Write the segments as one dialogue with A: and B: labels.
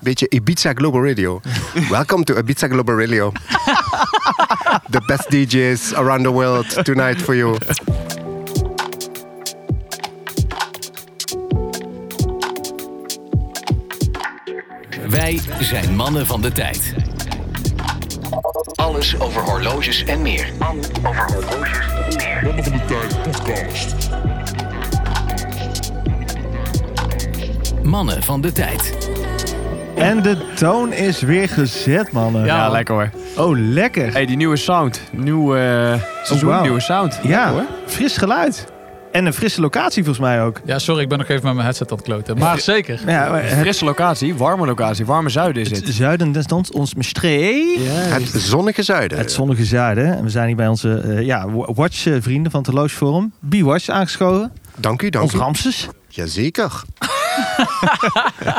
A: Beetje Ibiza Global Radio. Welcome to Ibiza Global Radio. the best DJs around the world tonight for you.
B: Wij zijn mannen van de tijd. Alles over horloges en meer. Mannen van de tijd.
C: En de toon is weer gezet, mannen.
D: Ja, lekker hoor.
C: Oh, lekker.
D: Hey, die nieuwe sound. Nieuw eh seizoen,
C: wauw.
D: nieuwe sound.
C: ja,
D: Lekker, hoor.
C: fris geluid. En een frisse locatie volgens mij ook.
E: Ja, sorry, ik ben nog even met mijn headset aan het kloten. Maar zeker.
C: Ja, maar het
D: Frisse locatie, warme locatie, warme zuiden is
C: het
D: dit.
C: zuiden des lands, ons Maastricht.
A: Het zonnige zuiden.
C: Het zonnige zuiden. En we zijn hier bij onze eh, ja, Watch-vrienden van het Horloge Forum. B-Watch aangeschoven.
A: Dank u, dank
C: Ons
A: u.
C: Ramses.
A: Jazeker.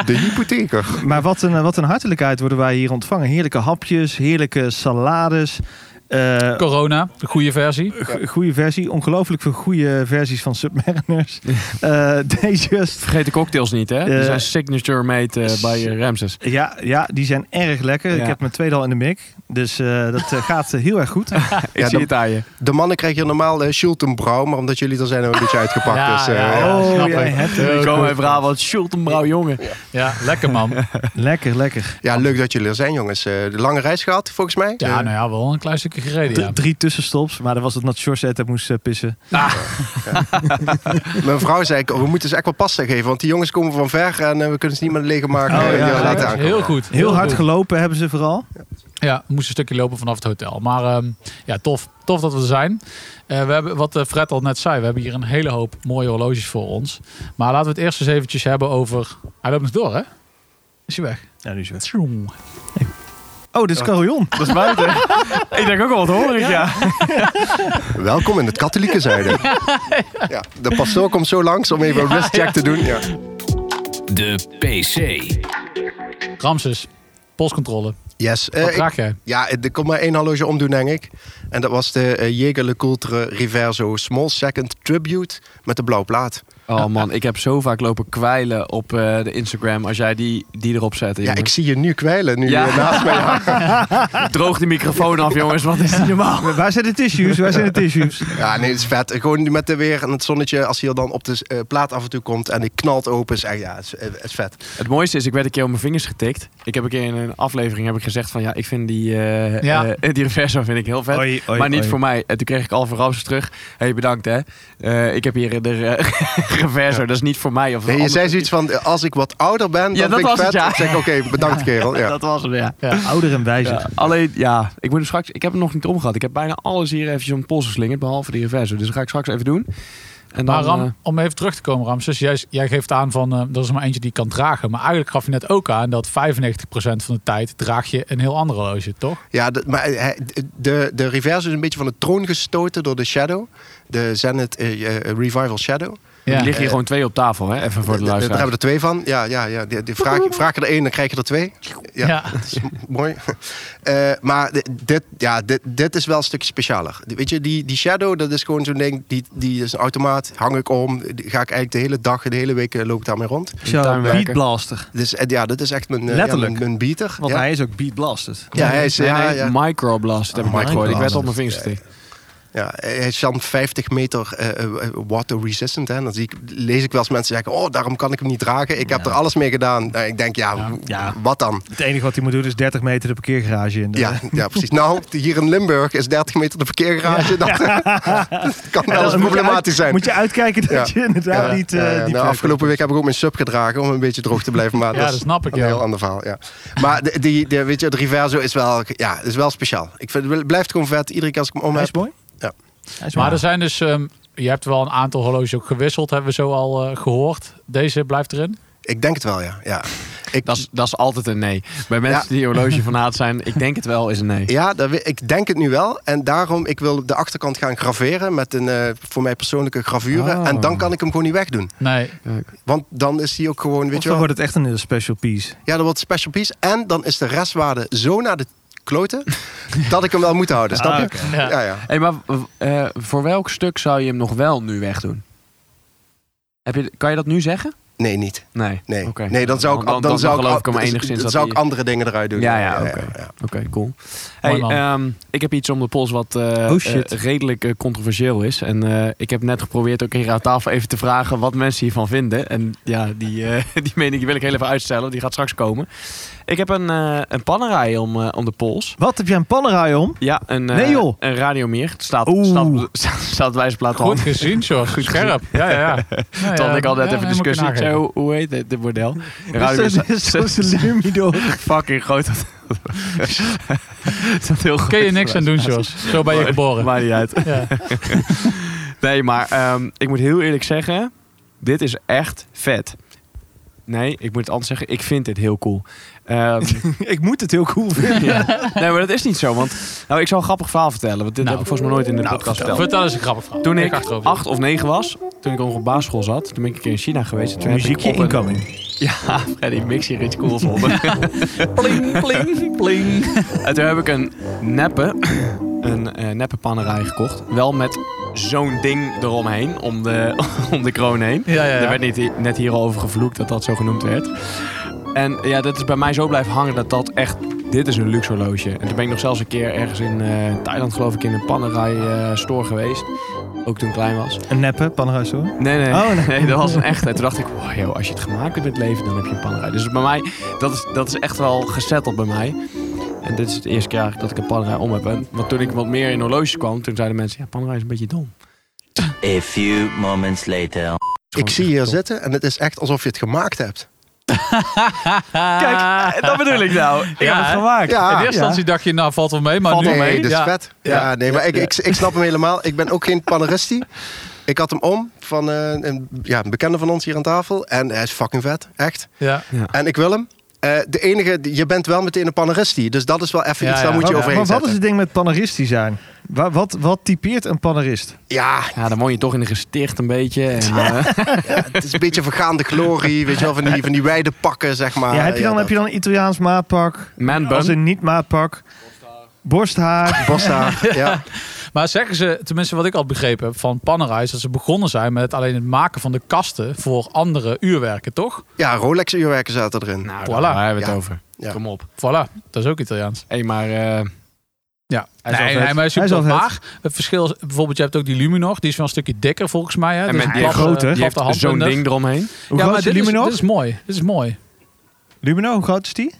A: de hypotheker.
C: Maar wat een, eh, wat een hartelijkheid worden wij hier ontvangen. Heerlijke hapjes, heerlijke salades. eh,
E: Corona, de goede versie.
C: go- goede versie. Ongelooflijk veel goede versies van Submariners. Eh Datejust.
D: Vergeet de cocktails niet, hè?
C: Eh,
D: Die zijn signature made eh, bij eh, Ramses.
C: Ja, ja, die zijn erg lekker.
D: Ja.
C: Ik heb mijn tweede al in de mik. Dus eh, dat eh, gaat eh, heel erg goed.
D: Ik
A: Ja,
D: zie
A: dan-
D: het aan je.
A: De mannen krijgen hier normaal uh, Schultenbrouw, maar omdat jullie er zijn, hebben we een beetje uitgepakt.
E: Ja,
A: dus, eh,
E: ja, ja.
C: oh,
E: snap
C: jij
E: ik.
C: hebt
D: Eh, Kom
C: het.
D: even aan, Brabant, Schultenbrouw, jongen.
E: Ja, lekker man.
C: Lekker, lekker.
A: Ja, leuk dat jullie er zijn, jongens. Eh, de lange reis gehad, volgens mij.
E: Ja,
A: Eh,
E: nou ja, wel een klein stukje gereden. Ja.
C: D- Drie tussenstops. Maar dat was het omdat George uit moest eh, pissen.
A: Mijn vrouw zei, ik, oh, we moeten ze echt wel pasta geven, want die jongens komen van ver en eh, we kunnen ze niet meer leeg maken.
C: Oh,
A: eh,
C: ja,
A: die
C: ja,
A: laten
E: dat is
A: aankomen.
E: heel goed.
C: Heel, hard
E: goed.
C: gelopen hebben ze vooral.
E: Ja, we moesten een stukje lopen vanaf het hotel. Maar ehm, ja, tof, tof dat we er zijn. Eh, we hebben, wat eh, Fred al net zei, we hebben hier een hele hoop mooie horloges voor ons. Maar laten we het eerst eens eventjes hebben over... Hij loopt nog door, hè? Is hij weg?
C: Ja, nu is het.
E: Tjoeng.
C: Oh, dit is carillon.
D: Dat is buiten. ik denk ook al wat hoor ik, ja.
A: Welkom in het katholieke zuiden. ja, de pastoor komt zo langs om even een wristcheck te doen. Ja.
B: De PC.
E: Ramses, postcontrole.
A: Yes. eh,
E: Wat
A: ik-
E: draag jij?
A: ja, eh, er kon maar één horloge omdoen, denk ik. En dat was de eh, Jaeger Le Coultre Reverso Small Second Tribute met de blauw plaat.
D: Oh man, ik heb zo vaak lopen kwijlen op eh, de Instagram als jij die, die erop zet.
A: Ja,
D: jongen.
A: ik zie je nu kwijlen, nu
D: Ja.
A: eh, naast mij. hangt.
D: droog die microfoon af, jongens. Wat is dit normaal?
C: Waar zijn de tissues? Waar zijn de tissues?
A: Ja, nee, het is vet. Gewoon met de weer en het zonnetje, als hij er dan op de eh, plaat af en toe komt en die knalt open, is echt, ja, het is, eh, het is vet.
D: Het mooiste is, ik werd een keer op mijn vingers getikt. Ik heb een keer in een aflevering heb ik gezegd van... ja, ik vind die, eh,
E: Ja.
D: eh, die reverso vind ik heel vet.
C: Oei, oei,
D: maar niet
C: oei.
D: voor mij. En toen kreeg ik al van Ramses terug. Hé, hey, bedankt hè. Eh, ik heb hier de eh, reverso. Dat is niet voor mij. Of een
A: Nee, je
D: ander-
A: zei zoiets van, eh, als ik wat ouder ben, dan
D: Ja, dat
A: vind ik
D: was
A: vet.
D: het, ja.
A: Ik zeg, oké, bedankt kerel. Ja.
D: Dat was hem, ja.
C: Ouder en wijzer.
D: Ja, alleen, ja, ik moet hem straks. Ik heb hem nog niet omgehad. Ik heb bijna alles hier eventjes om de pols geslingerd, behalve die reverso. Dus dat ga ik straks even doen. En dan,
E: Maar Ram,
D: eh,
E: om even terug te komen, Ramses. Jij, jij geeft aan van, eh, er is maar eentje die ik kan dragen. Maar eigenlijk gaf je net ook aan dat 95% van de tijd draag je een heel ander horloge, toch?
A: Ja, dat- maar eh, hij- de, de reverse is een beetje van de troon gestoten door de Shadow. De Zenith eh, eh, Revival Shadow.
D: er
E: Ja.
D: liggen hier gewoon twee op tafel, hè? Even voor de
A: Eh, daar hebben
D: luisteraar.
A: we er twee van. Ja, ja, ja. Die, die vraag, vraag je er één, dan krijg je er twee. Ja,
E: Ja.
A: dat is m- mooi. Eh, maar di- dit, ja, dit, dit is wel een stukje specialer. Die- Weet je, die, die Shadow, dat is gewoon zo'n ding. Die, die is een automaat, hang ik om. Die ga ik eigenlijk de hele dag, de hele week eh, loop ik daarmee rond.
C: Zo,
D: tuinwerker.
C: beatblaster.
A: Dus eh, ja, dat is echt mijn, eh, ja,
C: Letterlijk.
A: mijn, mijn beater.
C: Want
A: ja.
C: hij is ook beatblaster.
A: Ja, hij is...
D: Nee,
A: ja,
D: nee,
A: ja.
D: microblast heb ik
A: Oh,
D: net gehoord. Ik werd
A: microblast.
D: op mijn vingers getikt.
A: Ja, hij is dan 50 meter eh, eh, water resistant. Hè. Dan zie ik, lees ik wel eens mensen zeggen, oh, daarom kan ik hem niet dragen. Ik heb er alles mee gedaan. Nou, ik denk, ja, w-
C: Ja.
A: wat dan?
C: Het enige wat hij moet doen is 30 meter de parkeergarage in.
A: Ja, ja, precies. Nou, hier in Limburg is 30 meter de parkeergarage. Dat, eh, dat kan wel eens problematisch zijn.
C: Moet je uitkijken dat
A: Ja.
C: je inderdaad
A: Ja.
C: niet... eh,
A: Ja, ja.
C: niet
A: Nou,
C: kwijt
A: afgelopen week heb ik ook mijn sub gedragen om een beetje droog te blijven. Maar
E: Ja, dat snap ik,
A: Een
E: ja.
A: heel ander verhaal. Ja. Maar de, die, de, weet je, het Reverso is wel, ja, is wel speciaal. Ik vind, het blijft gewoon vet. Iedere keer als ik hem om
C: Hij
A: heb.
C: is mooi.
A: Ja.
C: Hij is mooi.
E: Maar er zijn dus, ehm, je hebt wel een aantal horloges ook gewisseld, hebben we zo al eh, gehoord. Deze blijft erin.
A: Ik denk het wel, ja. ja. Ik,
D: Dat is, dat is altijd een nee. Bij mensen
A: Ja.
D: die horloge van haat zijn, ik denk het wel, is een nee.
A: Ja, dat, we- ik denk het nu wel. En daarom, ik wil de achterkant gaan graveren met een eh, voor mij persoonlijke gravure.
D: Oh.
A: En dan kan ik hem gewoon niet wegdoen.
E: Nee,
A: Want dan is die ook gewoon, weet
C: Of
A: je wel.
C: dan wordt het echt een heel special piece.
A: Ja, dan wordt het special piece. En dan is de restwaarde zo naar de kloten dat ik hem wel moet houden. Snap je?
E: Ja.
A: Ja, ja.
D: Hey, maar eh, voor welk stuk zou je hem nog wel nu wegdoen? Heb je, kan je dat nu zeggen?
A: Nee, niet.
D: Nee.
A: Nee,
D: Oké.
A: nee dan zou ik,
D: Dan-
A: dan,
D: dan- dan
A: zou ik,
D: geloof ik hem
A: dan-
D: enigszins
A: dan
D: dat
A: zou ik
D: hij-
A: andere dingen eruit doen.
D: Ja, ja, oké. Oké, cool. Hey,
E: man.
D: ehm, ik heb iets om de pols wat eh,
C: Oh, shit.
D: eh, redelijk eh, controversieel is. En eh, ik heb net geprobeerd ook hier aan tafel even te vragen wat mensen hiervan vinden. En ja, die, eh, die mening die wil ik heel even uitstellen. Die gaat straks komen. Ik heb een, eh een pannerij om, eh, om de pols.
C: Wat heb jij een pannerij om?
D: Ja, een, eh
C: Nee, joh.
D: een radiomeer. Het staat,
C: Oeh.
D: staat, op de- staat, staat op de wijzerplaat al.
E: Goed gezien, George. Goed scherp. Ja, ja, ja. Nou
D: Toen
E: ja,
D: had ik altijd
E: ja,
D: even
E: nee, moet ik
D: discussie. Ik zei,
E: nageven.
D: hoe, hoe heet dit, dit model? Een radiomeer
C: Is dat is
D: staat-
C: zo'n Lumido?
D: fucking groot. Dat staat heel groot.
E: Kun je niks aan doen, George. Zo ben je geboren.
D: Maakt niet uit.
E: Ja.
D: Nee, maar ehm, ik moet heel eerlijk zeggen, dit is echt vet. Nee, ik moet het anders zeggen. Ik vind dit heel cool. Ehm,
C: Ik moet het heel cool vinden.
D: ja. Nee, maar dat is niet zo. Want nou, ik zal een grappig verhaal vertellen. Want dit
E: Nou,
D: heb ik volgens mij nooit in de podcast verteld.
E: Vertel eens een grappig verhaal.
D: Toen ik
E: achterover.
D: acht of negen was, toen ik nog op basisschool zat, toen ben ik een keer in China geweest. En toen heb ik
C: Muziekje
D: op een-
C: incoming.
D: Ja, Freddy Mix hier iets cool vonden. pling, pling, pling. En toen heb ik een neppe, een eh, neppe panerij gekocht. Wel met zo'n ding eromheen, om de, om de kroon heen.
E: Ja, ja,
D: Er
E: ja.
D: werd niet, net hier al over gevloekt dat dat zo genoemd werd. En ja, dat is bij mij zo blijven hangen dat dat echt... Dit is een luxe horloge. En toen ben ik nog zelfs een keer ergens in eh, Thailand, geloof ik, in een panerij eh, store geweest. Ook toen ik klein was.
C: Een neppe pannerij zo.
D: Nee, nee.
C: Oh, nee.
D: nee. dat was een echte. En toen dacht ik, wow, joh, als je het gemaakt hebt in het leven, dan heb je een pannerij. Dus bij mij, dat is, dat is echt wel gezetteld bij mij. En dit is het eerste keer eigenlijk dat ik een pannerij om heb. En, want toen ik wat meer in horloges kwam, toen zeiden mensen, ja, pannerij is een beetje dom.
F: A few moments later.
A: Ik zie je hier zitten en het is echt alsof je het gemaakt hebt.
D: Kijk, dat bedoel ik nou. Ik
E: Ah. Ja,
D: heb
E: hè?
D: het gemaakt.
A: Ja.
E: in eerste instantie dacht je, nou valt wel mee, maar
D: Valt
E: nu...
D: wel
A: Nee,
D: mee.
A: dat is
E: ja.
A: vet. Ja, nee, maar ik, ik, ik snap hem helemaal. Ik ben ook geen paneristi. Ik had hem om van eh, een, ja, een bekende van ons hier aan tafel. En hij is fucking vet, echt.
E: Ja.
A: En ik wil hem. Eh, de enige, je bent wel meteen een paneristi. Dus dat is wel even
E: Ja,
A: iets,
E: ja.
A: daar moet
E: Wat-
A: je
C: Maar,
A: overheen
C: maar wat is
A: zetten.
C: het ding met paneristi zijn? Wa- Wat, wat typeert een panerist?
A: Ja,
D: Ja, dan woon je toch in een gesticht een beetje. En, eh,
A: het is een beetje vergaande glorie. Weet je wel, van die, van die wijde pakken, zeg maar.
C: Ah, ja, heb, je dan, heb je dan een Italiaans maatpak?
D: man
C: Als
D: bun.
C: een niet-maatpak? Borsthaar.
A: Boshaar, ja.
E: Maar zeggen ze, tenminste wat ik al begrepen heb van Panerai, is dat ze begonnen zijn met alleen het maken van de kasten voor andere uurwerken, toch?
A: Ja, Rolex-uurwerken zaten erin.
D: Nou,
E: Voilà.
D: daar hebben we het
A: Ja.
D: over.
A: Ja.
D: Kom op.
E: Voilà, dat is ook Italiaans.
D: Hé, maar... eh,
E: Ja,
D: Hij is wel
E: nee,
D: vet.
E: nee,
C: Hij
E: maar,
C: is wel
E: super,
C: vet.
E: maar het verschil is, bijvoorbeeld je hebt ook die Luminor, die is wel een stukje dikker volgens mij. Hè?
D: En
E: Dus
D: met
E: een
D: die
E: platte-
C: grote, die
D: die
E: platte
D: heeft zo'n
E: handbinder.
D: ding eromheen.
C: Hoe
E: ja,
C: groot
E: maar
C: is de
E: dit is,
C: Lumino?
E: dit is mooi. Dit is mooi.
C: Lumino, hoe groot is die?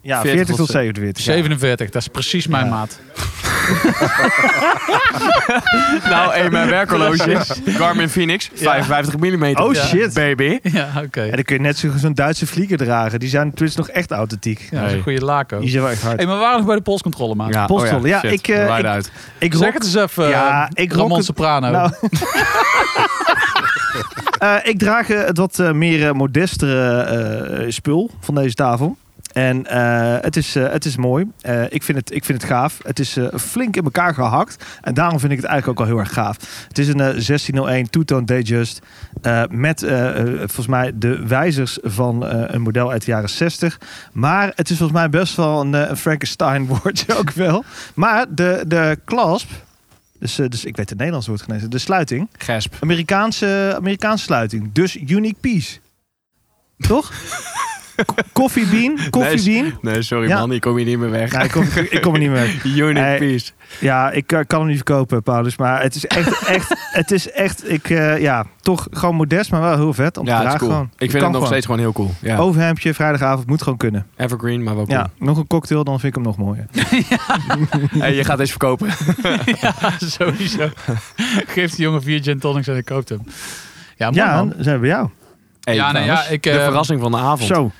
C: Ja,
D: 40
C: 40 tot
D: tot
C: 47. ja.
E: 47, dat is precies mijn maat.
D: Nou, hé, mijn werkhorloge. Garmin Phoenix, 55 mm.
C: Oh shit.
D: baby.
E: Ja, oké.
C: En dan kun je net zo- zo'n Duitse vlieger dragen. Die zijn twist nog echt authentiek.
E: Ja, dat is
D: Nee.
E: een goede laken. ook.
C: Die zijn wel echt hard.
E: Hey, oh maar we waren nog bij de polscontrole, maat.
C: Postel, ja,
D: Oh shit.
C: ik, eh,
D: Waaide
C: ik-
D: uit.
C: ik
E: Zeg
C: rock-
E: het eens even,
C: Ja,
E: ja,
C: ik rock
E: Ramon
C: het-
E: Soprano.
C: Nou. Eh, ik draag eh, het wat eh, meer eh, modestere eh, spul van deze tafel. En eh, het, is, eh, het is mooi. Eh, ik, vind het, ik vind het gaaf. Het is eh, flink in elkaar gehakt. En daarom vind ik het eigenlijk ook al heel erg gaaf. Het is een eh, 1601 Two-Tone Datejust. eh, met eh, eh, volgens mij de wijzers van eh, een model uit de jaren 60. Maar het is volgens mij best wel een, eh, een Frankenstein-woordje ook wel. Maar de, de clasp... Dus, eh, dus ik weet het Nederlands woord genezen. De sluiting.
D: Gesp.
C: Amerikaanse, Amerikaanse sluiting. Dus unique piece. Toch? Coffee bean, coffee
D: Nee,
C: bean.
D: Nee, sorry
C: Ja.
D: man, ik kom hier niet meer weg.
C: Nou, ik, kom, ik kom er niet meer.
D: Unique
C: Hey.
D: piece.
C: Ja, ik eh, kan hem niet verkopen, Paulus. Maar het is echt, echt, het is echt ik, eh, ja, toch gewoon modest, maar wel heel vet om te
D: Ja, het is
C: dragen.
D: cool.
C: gewoon.
D: Ik vind
C: Kan
D: het nog
C: gewoon.
D: steeds gewoon heel cool. Ja.
C: Overhemdje, vrijdagavond, moet gewoon kunnen.
D: Evergreen, maar wel cool.
C: Ja, nog een cocktail, dan vind ik hem nog mooier.
D: Hey, je gaat deze verkopen.
E: Ja, sowieso. Geef die jongen vier gin tonics en ik koop hem. Ja, mooi,
C: ja,
E: man.
C: dan zijn we bij jou.
D: Hey,
E: Ja, nee,
D: trouwens,
E: ja, ik,
D: de
E: eh,
D: verrassing van de avond.
C: Zo,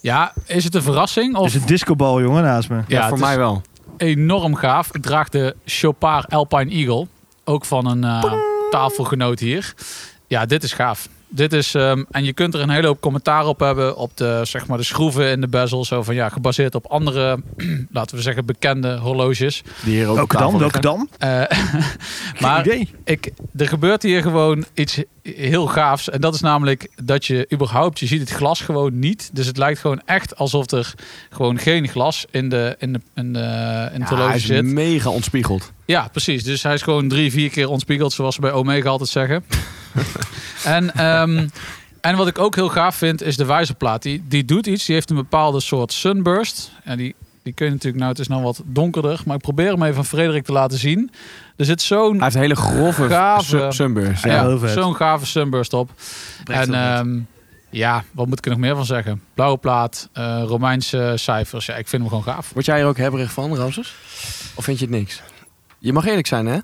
E: Ja, is het een verrassing?
C: er
E: Of...
C: is een discobal, jongen, naast me.
D: Ja, voor
E: het
D: mij
E: is
D: wel.
E: enorm gaaf. Ik draag de Chopard Alpine Eagle. Ook van een eh, tafelgenoot hier. Ja, dit is gaaf. Dit is, ehm, en je kunt er een hele hoop commentaar op hebben. Op de, zeg maar, de schroeven in de bezel. Zo van ja, gebaseerd op andere, laten we zeggen, bekende horloges.
D: Die hier ook op
C: Welke
D: tafel
C: dan? Welke
D: liggen.
C: dan?
E: Eh,
C: Geen
E: maar
C: idee.
E: ik, er gebeurt hier gewoon iets heel gaafs. En dat is namelijk dat je überhaupt, je ziet het glas gewoon niet. Dus het lijkt gewoon echt alsof er gewoon geen glas in, de, in, de, in, de, in het
D: Ja, hij
E: horloge
D: is
E: zit.
D: mega ontspiegeld.
E: Ja, precies. Dus hij is gewoon drie, vier keer ontspiegeld, zoals ze bij Omega altijd zeggen. En, ehm, en wat ik ook heel gaaf vind, is de wijzerplaat. Die, die doet iets. Die heeft een bepaalde soort sunburst. En die, die kun je natuurlijk... Nou, het is nou wat donkerder. Maar ik probeer hem even aan Frederik te laten zien. Er zit zo'n...
D: Hij heeft hele grove
E: Gave.
D: sun- sunburst.
C: Ja,
E: Ja,
C: heel vet.
E: zo'n gave sunburst op. en ehm, ja, wat moet ik er nog meer van zeggen? Blauwe plaat, eh, Romeinse cijfers. Ja, ik vind hem gewoon gaaf.
D: Word jij er ook hebberig van, Ramses? Of vind je het niks? Je mag eerlijk zijn, hè?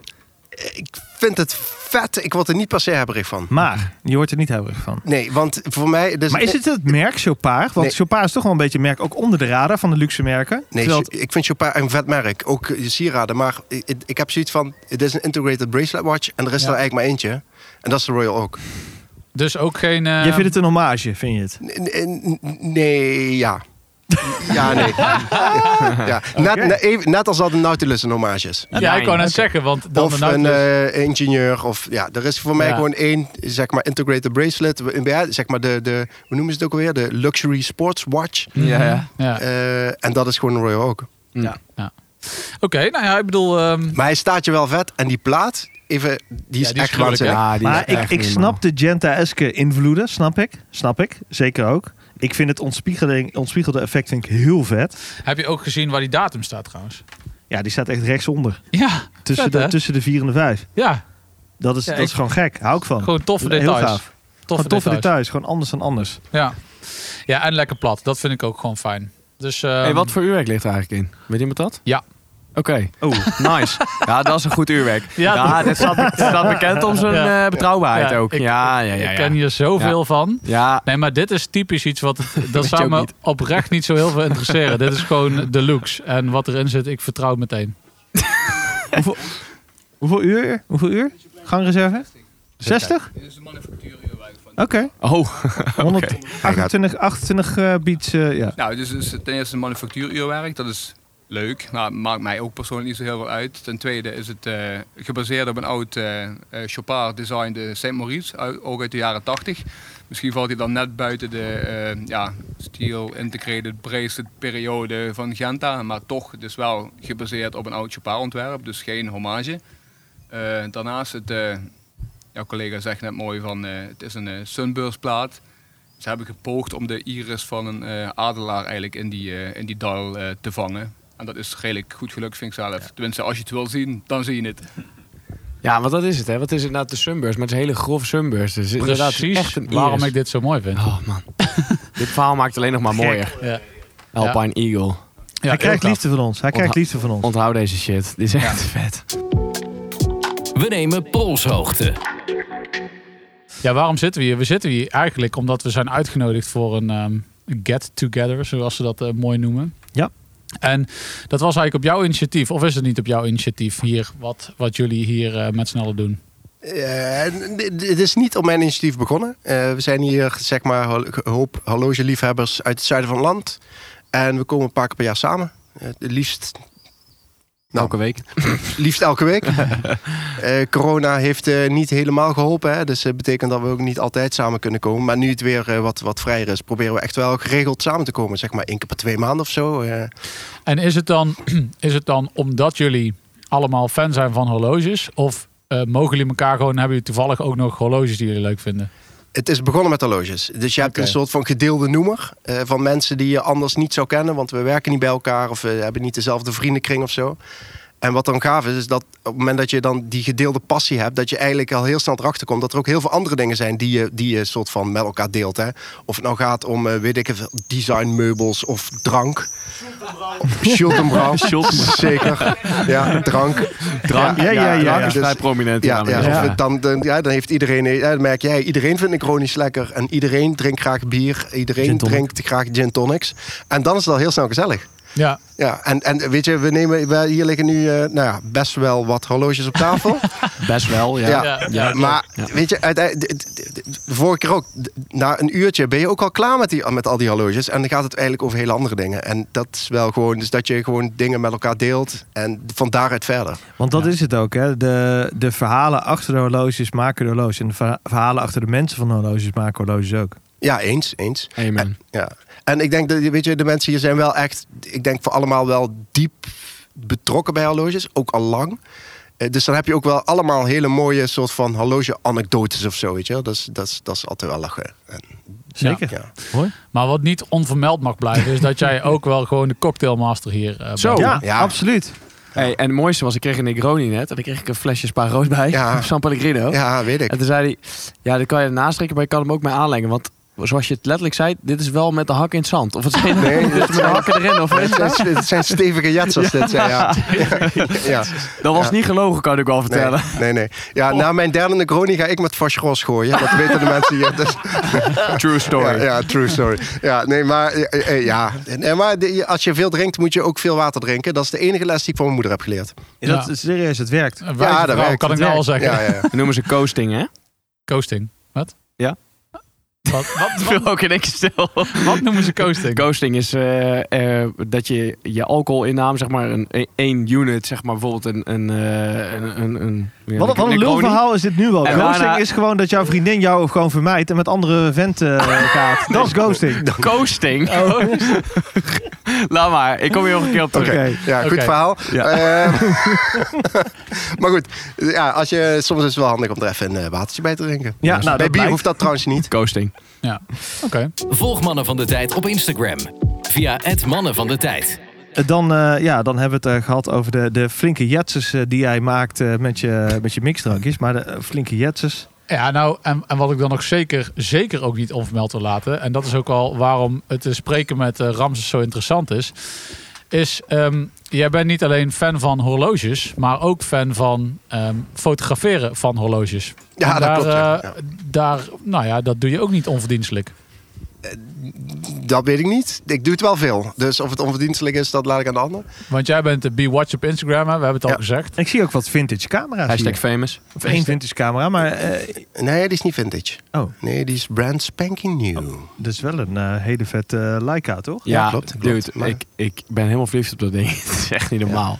A: Ik vind het vet. Ik word er niet per se hebberig van.
C: Maar je wordt er niet heel erg van.
A: Nee, want voor mij... Dus
C: Maar is het het merk Chopard? Want
A: Nee.
C: Chopard is toch wel een beetje een merk ook onder de radar van de luxe merken.
A: Nee,
C: Terwijl het-
A: ik vind Chopin een vet merk. Ook eh, sieraden. Maar ik, ik- ik heb zoiets van... Het is een integrated bracelet watch. En er is
E: Ja.
A: er eigenlijk maar eentje. En dat is de Royal Oak.
E: Dus ook geen... eh,
C: Jij vindt het een hommage, vind je het?
A: N- n- n- Nee, ja. Ja, nee. ja. Net, net, even- net als dat een Nautilus een hommage is.
E: ehm, ja, ik
D: Nein.
E: wou net zeggen, want dan
A: of
E: de nou dus-
A: een
E: Nautilus-
A: eh, ingenieur. Of, ja, er is voor mij
E: Ja.
A: gewoon één zeg maar, integrated bracelet. We- ja, Zeg maar de, de, hoe noemen ze het ook alweer? De luxury sports watch.
E: Mhm.
D: Ja, ja.
E: Ja.
A: Eh, en dat is gewoon een Royal Oak.
E: Oké, nou ja, ik bedoel... ehm,
A: Maar hij staat je wel vet. En die plaat, even, die is
E: die is
A: echt
E: gruwelijk,
A: waanzinnig.
D: Ja, Ah, die is
C: Maar ik,
D: echt
C: ik
D: niet
C: snap de Genta-eske invloeden, snap ik. Snap ik, zeker ook. Ik vind het ontspiegeling- ontspiegelde effect vind ik heel vet.
E: heb je ook gezien waar die datum staat trouwens?
C: Ja, die staat echt rechtsonder.
E: Ja,
C: Tussen,
E: vet,
C: de,
E: hè?
C: tussen de 4 en de 5.
E: Ja,
C: Dat is,
E: Ja,
C: dat is
E: ik-
C: gewoon gek. Hou ik van.
E: gewoon toffe
C: Heel
E: details.
C: gaaf.
E: Toffe,
C: Gewoon toffe
E: details.
C: details. Gewoon anders dan anders.
E: Ja. ja, en lekker plat. Dat vind ik ook gewoon fijn. Dus, ehm,
D: Hé, wat voor uurwerk ligt er eigenlijk in? Weet iemand dat?
E: Ja.
D: Oké,
C: Oh,
D: nice. ja, dat is een goed uurwerk.
E: Ja,
D: Ja, dit staat, staat bekend om zijn
E: Ja.
D: eh, betrouwbaarheid
E: Ja,
D: ook.
E: ik-
D: ja, ja, ja.
E: Ik
D: ja.
E: ken hier zoveel van.
D: Ja,
E: Nee, maar dit is typisch iets wat... Dat
D: je
E: zou
D: ook
E: me
D: niet.
E: oprecht niet zo heel veel interesseren. dit is gewoon de looks. En wat erin zit, ik vertrouw het meteen.
C: hoeveel uur? Hoeveel uur? Gangreserve? 60? Dit is de manufactuur Oké.
D: oh,
C: 128 28 eh, beats, eh, ja.
G: Nou, dus, dus ten eerste manufactuuruurwerk, dat is leuk. Maar maakt mij ook persoonlijk niet zo heel veel uit. Ten tweede is het eh, gebaseerd op een oud eh eh, Chopard design de St. Maurice, uit- ook uit de jaren 80. Misschien valt hij dan net buiten de eh, ja, Steel Integrated Bracelet periode van Genta. Maar toch, dus wel gebaseerd op een oud Chopard ontwerp, dus geen hommage. Eh, daarnaast, het, eh, jouw collega zegt net mooi van eh, het is een eh, sunburst plaat. Ze hebben gepoogd om de iris van een eh, adelaar eigenlijk in die, eh, in die dal eh, te vangen. En dat is redelijk goed gelukt, vind ik zelf. Tenminste, als je het wil zien, dan zie je het.
D: ja, want dat is het, hè? Wat is inderdaad de sunburst? Maar het is een hele grove sunburst. Dus inderdaad
E: Precies
D: echt een
E: waarom
D: iris.
E: ik dit zo mooi vind.
D: Oh, man. dit verhaal maakt alleen nog maar mooier.
E: Ja.
D: Alpine Eagle.
E: Ja,
C: Hij krijgt
E: heel
C: liefde van ons. Hij krijgt liefde van ons.
D: Onthoud deze shit. Dit is echt vet.
B: We nemen polshoogte.
E: gaaf. Ja, waarom zitten we hier? We zitten hier eigenlijk omdat we zijn uitgenodigd voor een ehm, get-together, zoals ze dat eh, mooi noemen.
C: Ja.
E: En dat was eigenlijk op jouw initiatief, of is het niet op jouw initiatief hier, wat, wat jullie hier eh, met z'n allen doen?
A: Eh, n- d- d- het is niet op mijn initiatief begonnen. Eh, we zijn hier, zeg maar, hol- een hoop horlogeliefhebbers uit het zuiden van het land. En we komen een paar keer per jaar samen. Eh, het liefst,
D: Elke week.
A: liefst elke week. Eh, corona heeft eh, niet helemaal geholpen. Hè? Dus dat betekent dat we ook niet altijd samen kunnen komen. Maar nu het weer eh, wat, wat vrijer is, proberen we echt wel geregeld samen te komen. Zeg maar één keer per twee maanden of zo. eh.
E: En is het dan, is het dan omdat jullie allemaal fan zijn van horloges? Of eh, mogen jullie elkaar gewoon, hebben jullie toevallig ook nog horloges die jullie leuk vinden?
A: Het is begonnen met horloges. Dus je hebt
E: Oké.
A: een soort van gedeelde noemer eh, van mensen die je anders niet zou kennen, want we werken niet bij elkaar of we hebben niet dezelfde vriendenkring of zo. En wat dan gaaf is, is dat op het moment dat je dan die gedeelde passie hebt, dat je eigenlijk al heel snel erachter komt dat er ook heel veel andere dingen zijn die je, die je soort van met elkaar deelt. Hè? Of het nou gaat om, eh, weet ik veel, designmeubels of drank. Schultenbrand. Zeker. Ja, drank. dus-
D: Drank,
C: Ja, ja, ja,
D: drank
C: ja.
D: is vrij prominent.
A: Ja, ja,
D: inmiddels.
A: of
D: Ja.
A: het dan, dan, ja, dan heeft iedereen, eh, ja, dan merk jij, iedereen vindt een chronisch lekker. En iedereen drinkt graag bier.
C: Gin
A: Iedereen
C: tonic.
A: drinkt graag gin tonics. En dan is het al heel snel gezellig.
E: Ja,
A: Ja, en, en weet je, we nemen, wij- hier liggen nu eh, nou ja, best wel wat horloges op tafel.
D: Best wel, ja.
A: ja,
E: ja, ja.
A: maar weet je, uiteindelijk, de, de- de- de vorige keer ook, d- na een uurtje ben je ook al klaar met, die, met al die horloges. En dan gaat het eigenlijk over hele andere dingen. En dat is wel gewoon, dus dat je gewoon dingen met elkaar deelt. En van daaruit verder.
C: Want dat is het ook. Hè. De, de verhalen achter de horloges maken de horloges. En de verha- verhalen achter de mensen van de horloges maken horloges ook.
A: Ja, eens, eens.
D: Amen.
A: Ja. En ik denk dat weet je, de mensen hier zijn wel echt, ik denk voor allemaal wel diep betrokken bij horloges, ook al lang. Eh, dus dan heb je ook wel allemaal hele mooie soort van horloge-anekdotes of zo, weet je wel. Dat is, dat is, dat is altijd wel lachen. En,
C: Zeker.
A: ja.
C: Mooi.
E: Maar wat niet onvermeld mag blijven, is dat jij ook wel gewoon de cocktailmaster hier eh,
D: Zo.
E: bent.
C: ja,
A: ja.
C: absoluut.
D: Hey, en het mooiste was, ik kreeg een Negroni net. En daar kreeg ik een flesje spaarrood bij.
A: Ja.
D: Op San Pellegrino.
A: ja, weet ik.
D: En toen zei hij, ja, dat kan je ernaast trekken, maar je kan hem ook mee aanlengen. Want zoals je het letterlijk zei, dit is wel met de hak in het zand. Of het zijn
A: Nee,
D: dit is met de hakken erin. Of,
A: Het zijn, het zijn stevige jets als dit zijn, ja. ja.
D: dat was
A: Ja.
D: niet gelogen, kan ik wel
A: Nee,
D: vertellen.
A: nee, nee. Ja, na mijn derde Negroni ga ik met Vacheros gooien. Dat weten de mensen hier. Dus,
D: True story.
A: Ja, ja, true story. Ja, nee, maar, eh, eh, ja. Nee, maar de- als je veel drinkt, moet je ook veel water drinken. Dat is de enige les die ik van mijn moeder heb geleerd.
C: Ja. Dat is serieus, het werkt.
E: Een wijze
A: Ja, dat
E: vrouw,
A: werkt,
E: kan ik
A: dat
E: nou al zeggen.
A: Ja, ja, ja.
D: We noemen ze coasting, hè?
E: Coasting. Wat?
D: Ja.
E: Wat, wat, wat,
D: Wil ook in één keer stil.
E: wat noemen ze coasting?
D: Coasting is eh, eh, dat je je alcoholinname, zeg maar, een, een- één unit, zeg maar, bijvoorbeeld een... een, eh, een, een, een ja,
C: Wat, wat een
D: Negroni.
C: lulverhaal is dit nu wel.
D: En
C: ghosting
D: daarna-
C: is gewoon dat jouw vriendin jou gewoon vermijdt en met andere venten eh, gaat. Dat is ghosting.
D: Coasting. Laat maar, ik kom hier nog een keer op terug.
C: Oké.
A: Ja, goed
E: Oké.
A: verhaal.
D: Ja.
A: Eh, maar goed, ja, als je, soms is het wel handig om er even een eh, watertje bij te drinken.
C: Ja, nou,
A: bij
C: dat
A: bier
C: blijkt.
A: hoeft dat trouwens niet.
D: Coasting.
E: Ja. Oké.
B: Volg Mannen van de Tijd op Instagram. Via het Mannen van de Tijd.
C: Dan, eh, ja, dan hebben we het eh, gehad over de, de flinke jetsers eh, die jij maakt eh, met, je, met je mixdrankjes. Maar de eh, flinke jetsers.
E: Ja, nou, en, en wat ik dan nog zeker, zeker ook niet onvermeld wil laten... en dat is ook al waarom het eh, spreken met eh, Ramses zo interessant is... is, ehm, jij bent niet alleen fan van horloges... maar ook fan van ehm, fotograferen van horloges.
A: Ja,
E: En
A: dat klopt, ja.
E: eh,
A: Ja.
E: Daar, nou ja, dat doe je ook niet onverdienstelijk.
A: Dat weet ik niet. Ik doe het wel veel. Dus of het onverdienstelijk is, dat laat ik aan de ander.
E: Want jij bent de B-Watch op Instagram, hè? we hebben het al
A: Ja.
E: gezegd.
C: Ik zie ook wat vintage camera's.
D: Hashtag
C: hier.
D: famous.
C: Of één vintage camera, maar eh,
A: Nee, die is niet vintage.
C: Oh.
A: Nee, die is brand spanking new.
C: dat is wel een eh, hele vette eh, Leica, toch?
A: Ja,
D: Ja,
A: klopt, klopt.
D: dude,
A: Maar-
D: ik, ik ben helemaal verliefd op dat ding. Het is echt niet normaal.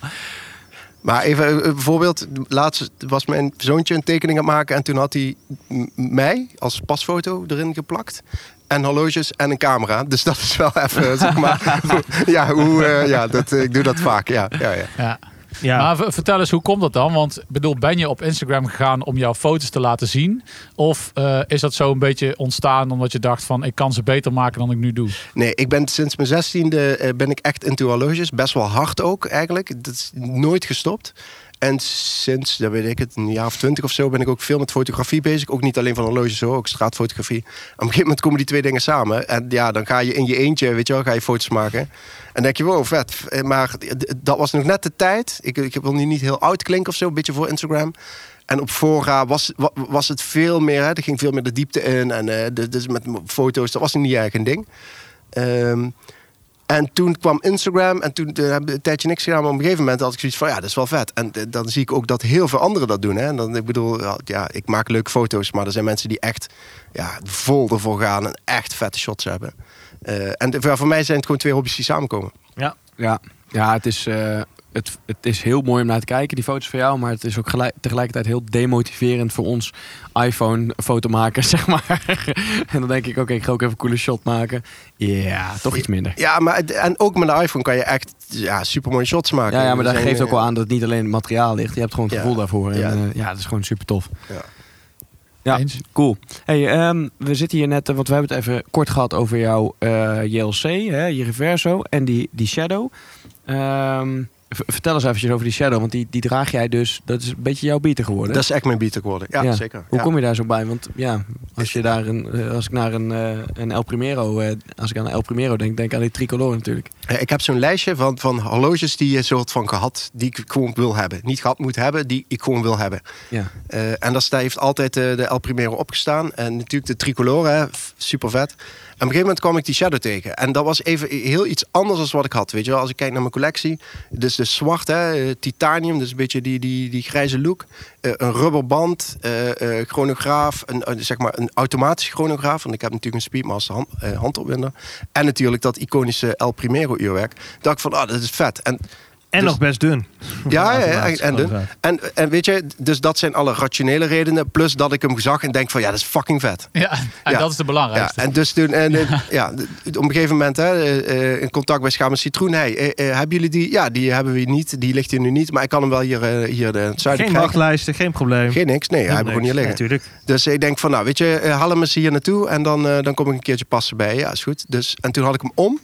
A: Maar even eh, een voorbeeld. Laatst was mijn zoontje een tekening aan het maken. En toen had hij m- mij als pasfoto erin geplakt. En horloges en een camera. Dus dat is wel even, zeg maar. ja, hoe, eh, ja dat, eh, ik doe dat vaak. Ja, ja, ja.
E: Ja.
C: Ja.
E: Maar v- vertel eens, hoe komt dat dan? Want ik bedoel, ben je op Instagram gegaan om jouw foto's te laten zien? Of eh, is dat zo een beetje ontstaan omdat je dacht van... ik kan ze beter maken dan ik nu doe?
A: Nee, ik ben sinds mijn zestiende eh, ben ik echt into horloges. Best wel hard ook eigenlijk. Dat is nooit gestopt. En sinds, dat weet ik het, een jaar of twintig of zo... ben ik ook veel met fotografie bezig. Ook niet alleen van horloges hoor, ook straatfotografie. Op een gegeven moment komen die twee dingen samen. En ja, dan ga je in je eentje, weet je wel, ga je foto's maken. En dan denk je, wow, vet. Eh, Maar d- dat was nog net de tijd. Ik, ik wil nu niet heel oud klinken of zo, een beetje voor Instagram. En op Fora was, wa- was het veel meer, hè. er ging veel meer de diepte in. En eh, de- dus met foto's, dat was niet eigenlijk een ding. Ehm, en toen kwam Instagram en toen eh, hebben we een tijdje niks gedaan. Maar op een gegeven moment had ik zoiets van, ja, dat is wel vet. En eh, dan zie ik ook dat heel veel anderen dat doen. Hè? En dan, ik bedoel, ja, ja, ik maak leuke foto's. Maar er zijn mensen die echt ja, vol ervoor gaan en echt vette shots hebben. Eh, en de- ja, voor mij zijn het gewoon twee hobby's die samenkomen.
D: Ja, ja het, is, eh, het, het is heel mooi om naar te kijken, die foto's van jou. Maar het is ook gelijk, tegelijkertijd heel demotiverend voor ons iPhone-fotomakers, zeg maar. en dan denk ik, oké, ik ga ook even een coole shot maken. Ja, toch iets minder.
A: Ja, maar het- en ook met een iPhone kan je echt ja, super mooie shots maken.
D: Ja, ja, maar
A: Er
D: dat
A: zijn,
D: geeft ook
A: eh,
D: wel aan dat het niet alleen het materiaal ligt. Je hebt gewoon het
A: Ja.
D: gevoel daarvoor. En,
A: Ja.
D: ja. ja, dat is gewoon super tof.
A: Ja.
D: Ja,
E: Eens?
D: cool. Hey, ehm, we zitten hier net, eh, want we hebben het even kort gehad over jouw eh, JLC, hè, je Reverso en die, die Shadow. Ehm, v- vertel eens eventjes over die Shadow, want die, die draag jij dus, dat is een beetje jouw beater geworden.
A: Dat is echt mijn beater geworden. Ja,
D: Ja.
A: zeker.
D: Hoe
A: Ja.
D: kom je daar zo bij? Want ja, als, je daar een, eh, als ik naar een, eh, een El Primero, eh, als ik aan een El Primero denk, denk ik aan die tricolore natuurlijk.
A: Ja, Eh, Ik heb zo'n lijstje van, van horloges die je soort van gehad, die ik gewoon wil hebben. Niet gehad moet hebben, die ik gewoon wil hebben.
D: Ja.
A: Eh, en dat sta- heeft altijd eh, de El Primero opgestaan. En natuurlijk de tricolore, hè, f- super vet. En op een gegeven moment kwam ik die shadow tegen. En dat was even heel iets anders dan wat ik had. Weet je wel, als ik kijk naar mijn collectie. Dus de zwart, hè, eh, titanium, dus een beetje die, die, die grijze look. Eh, een rubberband, eh, eh, chronograaf, een, een- zeg maar een automatische chronograaf. Want ik heb natuurlijk een Speedmaster hand, eh, handopwinder. En natuurlijk dat iconische El Primero uurwerk. Dacht ik van, ah, dat is vet. En
C: En nog best dun.
A: Ja, ja, ja, en,
C: Automaat,
A: en, dun.
C: automaat.
A: en, en weet je, dus dat zijn alle rationele redenen. Plus dat ik hem zag en denk van ja, dat is fucking vet.
E: Ja, en
A: Ja.
E: dat is de
A: Ja,
E: belangrijkste.
A: en dus toen, en, eh, ja. d- op een gegeven moment, hè, eh, eh, in contact bij Schaam en Citroen. Hey, eh, eh, hebben jullie die? Ja, die hebben we niet. Die ligt hier nu niet, maar ik kan hem wel hier, eh, hier eh, in het zuiden
C: Geen
A: krijgen.
C: wachtlijsten, geen probleem.
A: Geen niks, nee, hij hebben we gewoon hier liggen.
C: Natuurlijk.
A: Dus ik denk van, nou weet je, eh, haal hem eens hier naartoe en dan, eh, dan kom ik een keertje passen bij. je. Ja, is goed. Dus, en toen had ik hem om.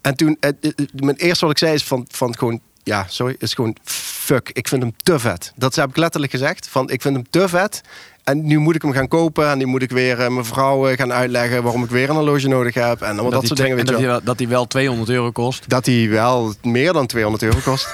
A: En toen, eh, eh, eh, mijn eerste wat ik zei is van, van gewoon, ja, sorry, is gewoon fuck, ik vind hem te vet. Dat heb ik letterlijk gezegd, van ik vind hem te vet. En nu moet ik hem gaan kopen en nu moet ik weer eh, mijn vrouw eh, gaan uitleggen waarom ik weer een horloge nodig heb. En allemaal dat,
D: die
A: soort
D: twee-
A: dingen, weet je wel.
D: en dat die wel- dat die wel 200 euro kost.
A: Dat hij wel meer dan 200 euro kost.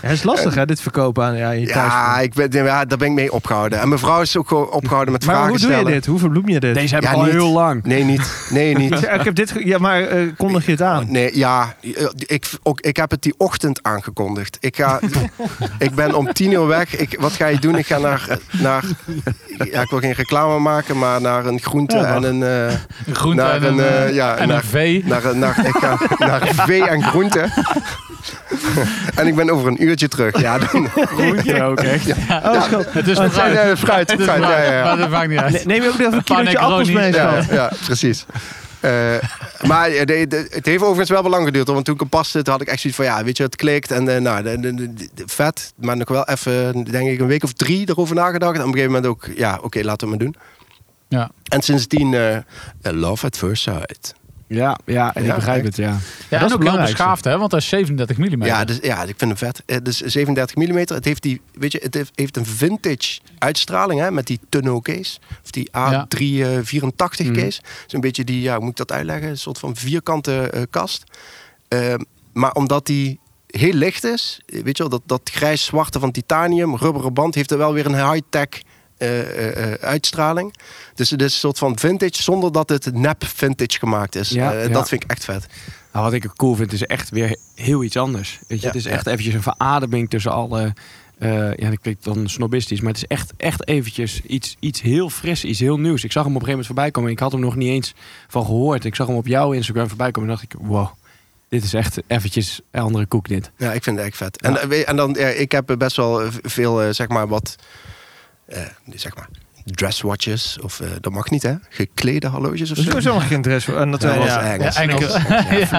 C: Het is lastig, hè, dit verkopen aan ja, in je thuis.
A: ja, ik ben, ja, daar ben ik mee opgehouden. En mijn vrouw is ook gewoon opgehouden met
C: maar
A: vragen
C: hoe doe
A: stellen.
C: je dit? Hoe verbloem je dit?
D: Deze heb
A: Ja,
D: ik al
A: niet.
D: heel lang.
A: Nee, niet. Nee, niet.
C: Ja, ik heb dit ge- ja, maar eh, kondig je het aan?
A: Nee, ja, eh, ik, ook, ik heb het die ochtend aangekondigd. Ik, ga, ik ben om tien uur weg. Ik, wat ga je doen? Ik ga naar, naar ja, ik wil geen reclame maken, maar naar een groente
C: Ja, mag.
A: en een, eh,
E: Een groente
A: Naar
E: en
A: een,
E: een,
A: eh, ja,
E: en
A: naar-
E: een vee.
A: naar, een- naar, ik ga naar vee en groente. en ik ben over een uurtje terug. Ja, dan,
D: Ja, ook echt.
C: Oh, schat.
E: Het is
A: nee,
E: fruit.
A: nee, fruit,
E: Het is
A: fruit, ja,
E: fruit,
A: ja, ja.
E: Maar dat maakt niet uit.
C: Ne- Neem je ook nog even een
E: paar
C: kilootje appels mee,
E: necronis.
A: ja,
C: schat?
A: ja, precies. Eh, maar eh, de- de- het heeft overigens wel wel lang geduurd. hoor, Want toen ik hem paste, toen had ik echt zoiets van... Ja, weet je, het klikt. En eh, nou, de- de- de- de- vet. Maar nog wel even, denk ik, een week of drie erover nagedacht. En op een gegeven moment ook... Ja, oké, laten we het maar doen.
E: Ja.
A: En sindsdien... eh, love at first sight.
D: Ja, ja, en ik
A: Ja,
D: begrijp
A: echt.
D: het, ja.
E: Ja,
C: is
E: dat
C: het
E: is ook heel
C: belangrijkste.
E: beschaafd, hè? Want hij is 37 mm.
A: Ja, dus, ja, ik vind hem vet. Eh, Dus 37 mm. Het heeft, die, weet je, het heeft- heeft een vintage uitstraling hè, met die Tonneau case. Of die eh, A384
D: Mhm.
A: case. Zo'n beetje die, ja, hoe moet ik dat uitleggen? Een soort van vierkante eh, kast. Eh, maar omdat die heel licht is, eh, weet je wel, dat, dat grijs-zwarte van titanium, rubberen band, heeft er wel weer een high-tech eh, eh, eh, uitstraling. Dus het is een soort van vintage, zonder dat het nep vintage gemaakt is.
D: Ja,
A: Eh,
D: ja.
A: Dat vind ik echt vet.
D: Nou, wat ik ook cool vind, is echt weer heel iets anders. Weet
A: Ja,
D: je, het is echt eventjes een verademing tussen alle... eh, ja, dat klinkt dan snobistisch, maar het is echt, echt eventjes iets, iets heel fris, iets heel nieuws. Ik zag hem op een gegeven moment voorbij komen en ik had hem nog niet eens van gehoord. Ik zag hem op jouw Instagram voorbij komen en dacht ik, wow, dit is echt eventjes een andere koek dit.
A: Ja, ik vind het echt vet. En, eh, weet- en dan, ja, ik heb eh, best wel eh, v- veel, eh, zeg maar, wat, eh, zeg maar, dresswatches. Of, eh, dat mag niet, hè? Geklede horloges of
C: Dat is
A: zo.
C: sowieso nog geen dress voor. En dat
A: Dat
C: ja,
A: was
C: ja.
A: Engels.
E: Ja, Engels.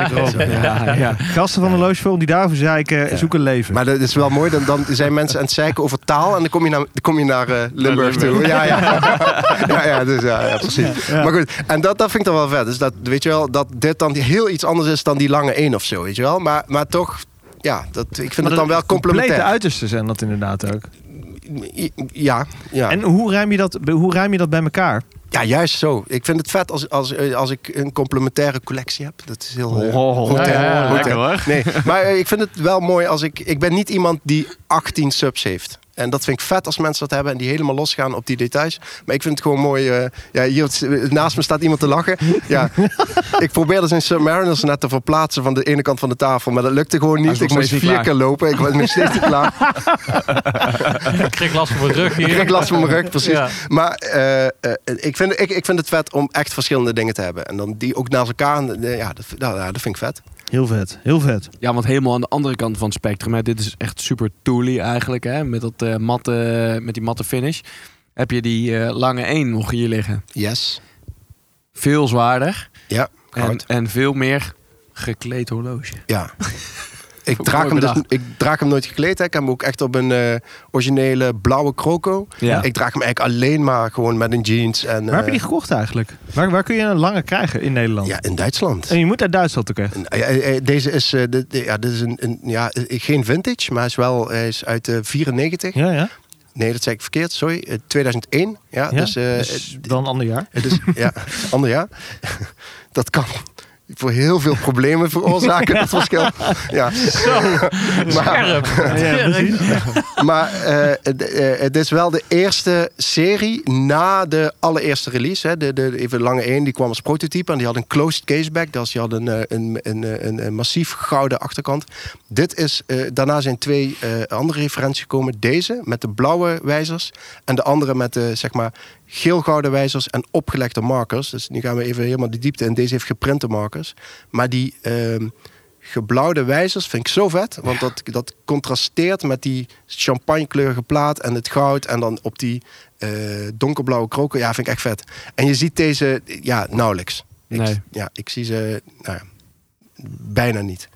D: Ja, ja.
C: Gasten van de Loosefilm die daarover zeiken, zoek een leven.
A: Maar dat is wel mooi, dan, dan zijn mensen aan het zeiken over taal en dan kom je naar, dan kom je naar eh, Limburg toe. Ja, ja. ja, ja, dus, ja, ja precies. Maar goed, en dat, dat vind ik dan wel vet. Dus dat, weet je wel, dat dit dan heel iets anders is dan die lange één of zo, weet je wel. Maar, maar toch, ja, dat, ik vind het dan wel
C: Complete
A: complementair.
C: uitersten zijn dat inderdaad ook.
A: Ja, ja.
C: En hoe ruim je dat, hoe ruim je dat bij elkaar?
A: Ja, juist zo. Ik vind het vet als, als, eh, als ik een complementaire collectie heb. Dat is heel... eh,
D: Oh,
A: hotel,
E: ja, ja,
A: hotel.
E: lekker
A: Nee, maar eh, ik vind het wel mooi als ik... Ik ben niet iemand die 18 subs heeft. En dat vind ik vet als mensen dat hebben en die helemaal losgaan op die details. Maar ik vind het gewoon mooi... eh, ja, hier, eh, naast me staat iemand te lachen. Ja, ik dus probeerde zijn Submariners net te verplaatsen van de ene kant van de tafel. Maar dat lukte gewoon
D: Hij is
A: niet. Ik
D: nog
A: moest
D: steeds
A: vier
D: niet
A: keer lopen. Ik was nog steeds niet klaar.
E: Ik kreeg last van mijn rug hier.
A: Ik kreeg last van mijn rug, precies.
E: Ja.
A: Maar eh, eh, ik, vind, ik, ik vind het vet om echt verschillende dingen te hebben. En dan die ook naast elkaar. en, eh, Ja, dat, nou, ja, dat vind ik vet.
C: Heel vet, heel vet.
D: Ja, want helemaal aan de andere kant van het spectrum. Hè, dit is echt super toolie eigenlijk. Hè, met, dat, eh, matte, met die matte finish. Heb je die eh, lange 1 nog hier liggen.
A: Yes.
D: Veel zwaarder.
A: Ja,
D: En,
A: goud.
D: en veel meer gekleed horloge.
A: Ja. Ik draag, hem dus,
D: bedacht.
A: ik draag hem nooit gekleed. Hè. Ik heb hem ook echt op een eh, originele blauwe croco.
D: Ja.
A: Ik draag hem eigenlijk alleen maar gewoon met een jeans. En,
C: Waar heb je die
A: eh,
C: gekocht eigenlijk? Waar, waar kun je een lange krijgen in Nederland?
A: Ja, in Duitsland.
C: En je moet uit Duitsland ook echt.
A: En, eh, eh, eh, Deze is, eh, dit- dit- ja, dit is een, een, ja, eh, geen vintage, maar hij is wel hij is uit eh, 94.
C: Ja, ja.
A: Nee, dat zei ik verkeerd, sorry. Eh, 2001. Ja,
C: ja?
A: Dus, eh,
C: Dus dan een ander jaar.
A: Het is, ja, ander jaar. Dat kan voor heel veel problemen veroorzaken, dat verschil. Ja. maar
E: Scherp.
C: Ja, precies.
A: maar eh, het- eh, het is wel de eerste serie na de allereerste release. Hè. De, de, even lange één, die kwam als prototype. En die had een closed caseback. Dus die had een, eh, een, een, een, een massief gouden achterkant. Dit is, eh, daarna zijn twee eh, andere referenties gekomen. Deze met de blauwe wijzers. En de andere met de zeg maar, geel-gouden wijzers en opgelegde markers. Dus nu gaan we even helemaal de diepte in. Deze heeft geprinte markers. Maar die... ehm, geblauwde wijzers vind ik zo vet. Want dat, dat contrasteert met die champagnekleurige plaat en het goud. En dan op die eh, donkerblauwe kroken. Ja, vind ik echt vet. En je ziet deze ja, nauwelijks. Ik,
D: Nee.
A: Ja, ik zie ze nou ja, bijna niet.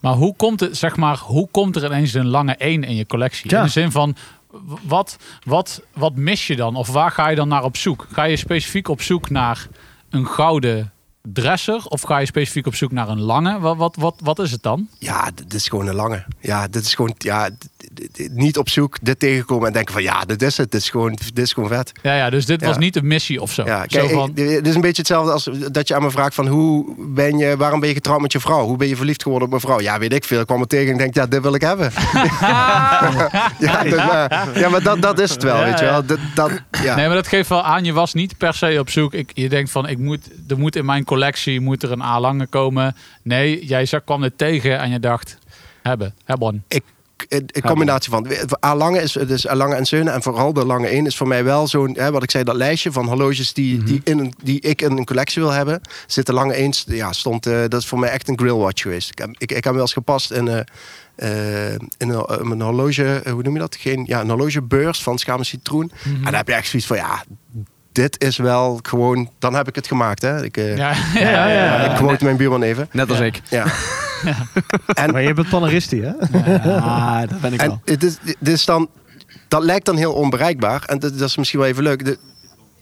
E: Maar hoe komt, het, zeg maar hoe komt er ineens een lange 1 in je collectie?
C: Ja.
E: In de zin van, w- wat, wat, wat mis je dan? Of waar ga je dan naar op zoek? Ga je specifiek op zoek naar een gouden dresser? Of ga je specifiek op zoek naar een lange? Wat, wat, wat, wat is het dan?
A: Ja, dit is gewoon een lange. Ja, dit is gewoon ja, d- d- d- niet op zoek, dit tegenkomen en denken van ja, dit is het. Dit is gewoon, dit is gewoon vet.
E: Ja, ja dus dit
A: Ja.
E: was niet een missie of zo.
A: Ja, kijk,
E: zo van,
A: ik- dit is een beetje hetzelfde als dat je aan me vraagt van hoe ben je, waarom ben je getrouwd met je vrouw? Hoe ben je verliefd geworden op mijn vrouw? Ja, weet ik veel. Ik kwam er tegen en ik denk, ja, dit wil ik hebben. ja, dat- maar, ja, maar dat, dat is het wel,
E: Ja,
A: weet je
E: ja.
A: wel. Dat, dat, ja.
E: Nee, maar dat geeft wel aan. Je was niet per se op zoek. Ik, je denkt van, ik moet, er moet in mijn collectie moet er een A-lange komen. Nee, jij zag- kwam dit tegen en je dacht, hebben, hebben.
A: Ik, een een combinatie van. A lange is dus A lange en Zeunen en vooral de lange één is voor mij wel zo'n, hè, wat ik zei, dat lijstje van horloges die,
E: Mhm.
A: die, in een, die ik in een collectie wil hebben. Zit de lange één, ja, stond, eh, dat is voor mij echt een grill watch geweest. Ik, heb- ik, ik heb hem wel eens gepast in, eh, eh, in een, in een horloge, eh, hoe noem je dat? Geen, ja, een horlogebeurs van Schaam en Citroen.
E: Mhm.
A: En dan heb je echt zoiets van, ja, dit is wel gewoon, dan heb ik het gemaakt, hè. Ik, eh,
E: Ja, ja, ja. ja.
A: ik quote mijn buurman even.
D: Net als ik.
A: Ja.
C: Maar je bent paneristi, hè?
D: Ah, dat ben ik
A: En het is, dit is dan, dat lijkt dan heel onbereikbaar. En dat, dat is misschien wel even leuk. De-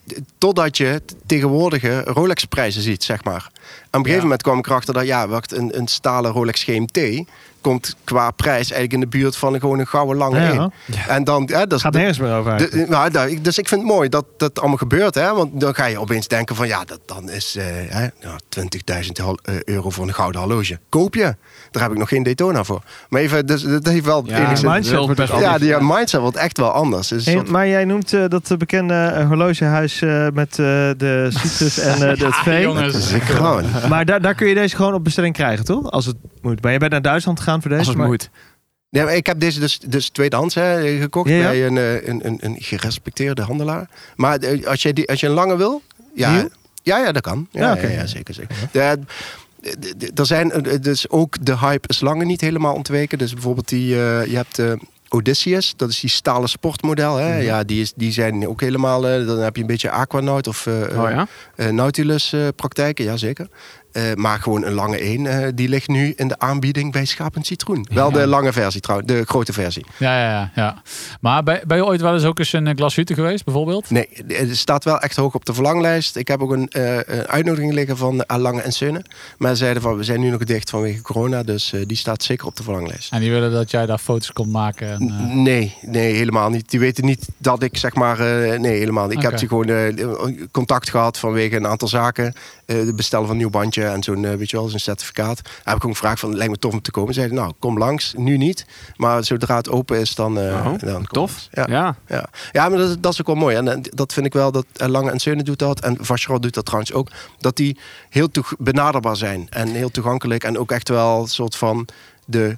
A: de- totdat je t- tegenwoordige Rolex-prijzen ziet, zeg maar. Aan een gegeven moment kwam ik erachter dat, ja, wacht, een, een stalen Rolex GMT komt qua prijs eigenlijk in de buurt van gewoon een gouden lange
C: Ja.
A: één. En dan, hè, dat is
C: Gaat
A: de-
C: nergens meer over.
A: de- nou, daar- ik- dus ik vind het mooi dat dat allemaal gebeurt. Hè? Want dan ga je opeens denken van ja, dat, dan is eh, hè, nou, 20.000 hal- eh, euro voor een gouden horloge. Koop je. Daar heb ik nog geen Daytona voor. Maar even, dus, dat heeft wel
D: Ja,
A: enigszins...
C: mindset
D: wel
C: wordt
D: best
C: het
D: wel-
A: Ja, die eh, mindset wordt echt wel anders. Het is een
C: Hey,
A: soort-
C: maar jij noemt eh, dat eh, bekende eh, horlogehuis eh, met eh, de citrus en eh, dat vee.
A: dat is
E: jongens.
A: een kroon.
C: Maar daar, daar kun je deze gewoon op bestelling krijgen, toch? Als het moet. Maar je bent naar Duitsland gegaan voor deze?
D: Als het
C: maar-
D: moet.
A: Nee, maar ik heb deze dus, dus tweedehands hè, gekocht
C: Ja, ja.
A: bij een, eh, een, een, een gerespecteerde handelaar. Maar eh, als je, die, als je een lange wil, ja,
C: Nieuw?
A: ja, ja dat kan. Ja,
C: Ja,
A: ja,
C: oké.
A: ja, zeker. zeker. De- de- de- er zijn eh, dus ook de hype is lange niet helemaal ontweken. Dus bijvoorbeeld die, eh, je hebt eh, Odysseus, dat is die stalen sportmodel. Hè?
C: Mhm.
A: Ja, die, is, die zijn ook helemaal. eh, dan heb je een beetje Aquanaut of eh,
D: Oh ja?
A: eh, Nautilus eh, praktijken, jazeker. Eh, maar gewoon een lange één, eh, die ligt nu in de aanbieding bij Schaap en Citroen. Wel de lange versie trouwens, de grote versie.
E: Ja, ja, ja, ja. Maar ben, ben je ooit wel eens ook eens een glashütte geweest, bijvoorbeeld?
A: Nee, het staat wel echt hoog op de verlanglijst. Ik heb ook een, eh, een uitnodiging liggen van A Lange en Sunne. Maar ze zeiden van, we zijn nu nog dicht vanwege corona, dus eh, die staat zeker op de verlanglijst.
E: En die willen dat jij daar foto's komt maken. En, eh,
A: Nee, nee, helemaal niet. Die weten niet dat ik zeg maar. eh, nee, helemaal niet. Ik
E: Oké.
A: heb die gewoon eh, contact gehad vanwege een aantal zaken. Eh, Het bestellen van een nieuw bandje en zo'n, eh, weet je wel, zo'n certificaat. Daar heb ik ook gevraagd: van, lijkt me tof om te komen. Zeiden, nou, kom langs. Nu niet. Maar zodra het open is, dan. eh,
D: Oh,
A: dan kom
D: tof.
A: ik. Ja.
D: Ja.
A: Ja, ja maar dat, is- dat is ook wel mooi. En, eh, dat vind ik wel dat eh, Lange en Zeunen doet dat. En Vacheron doet dat trouwens ook. Dat die heel toeg- benaderbaar zijn. En heel toegankelijk. En ook echt wel een soort van de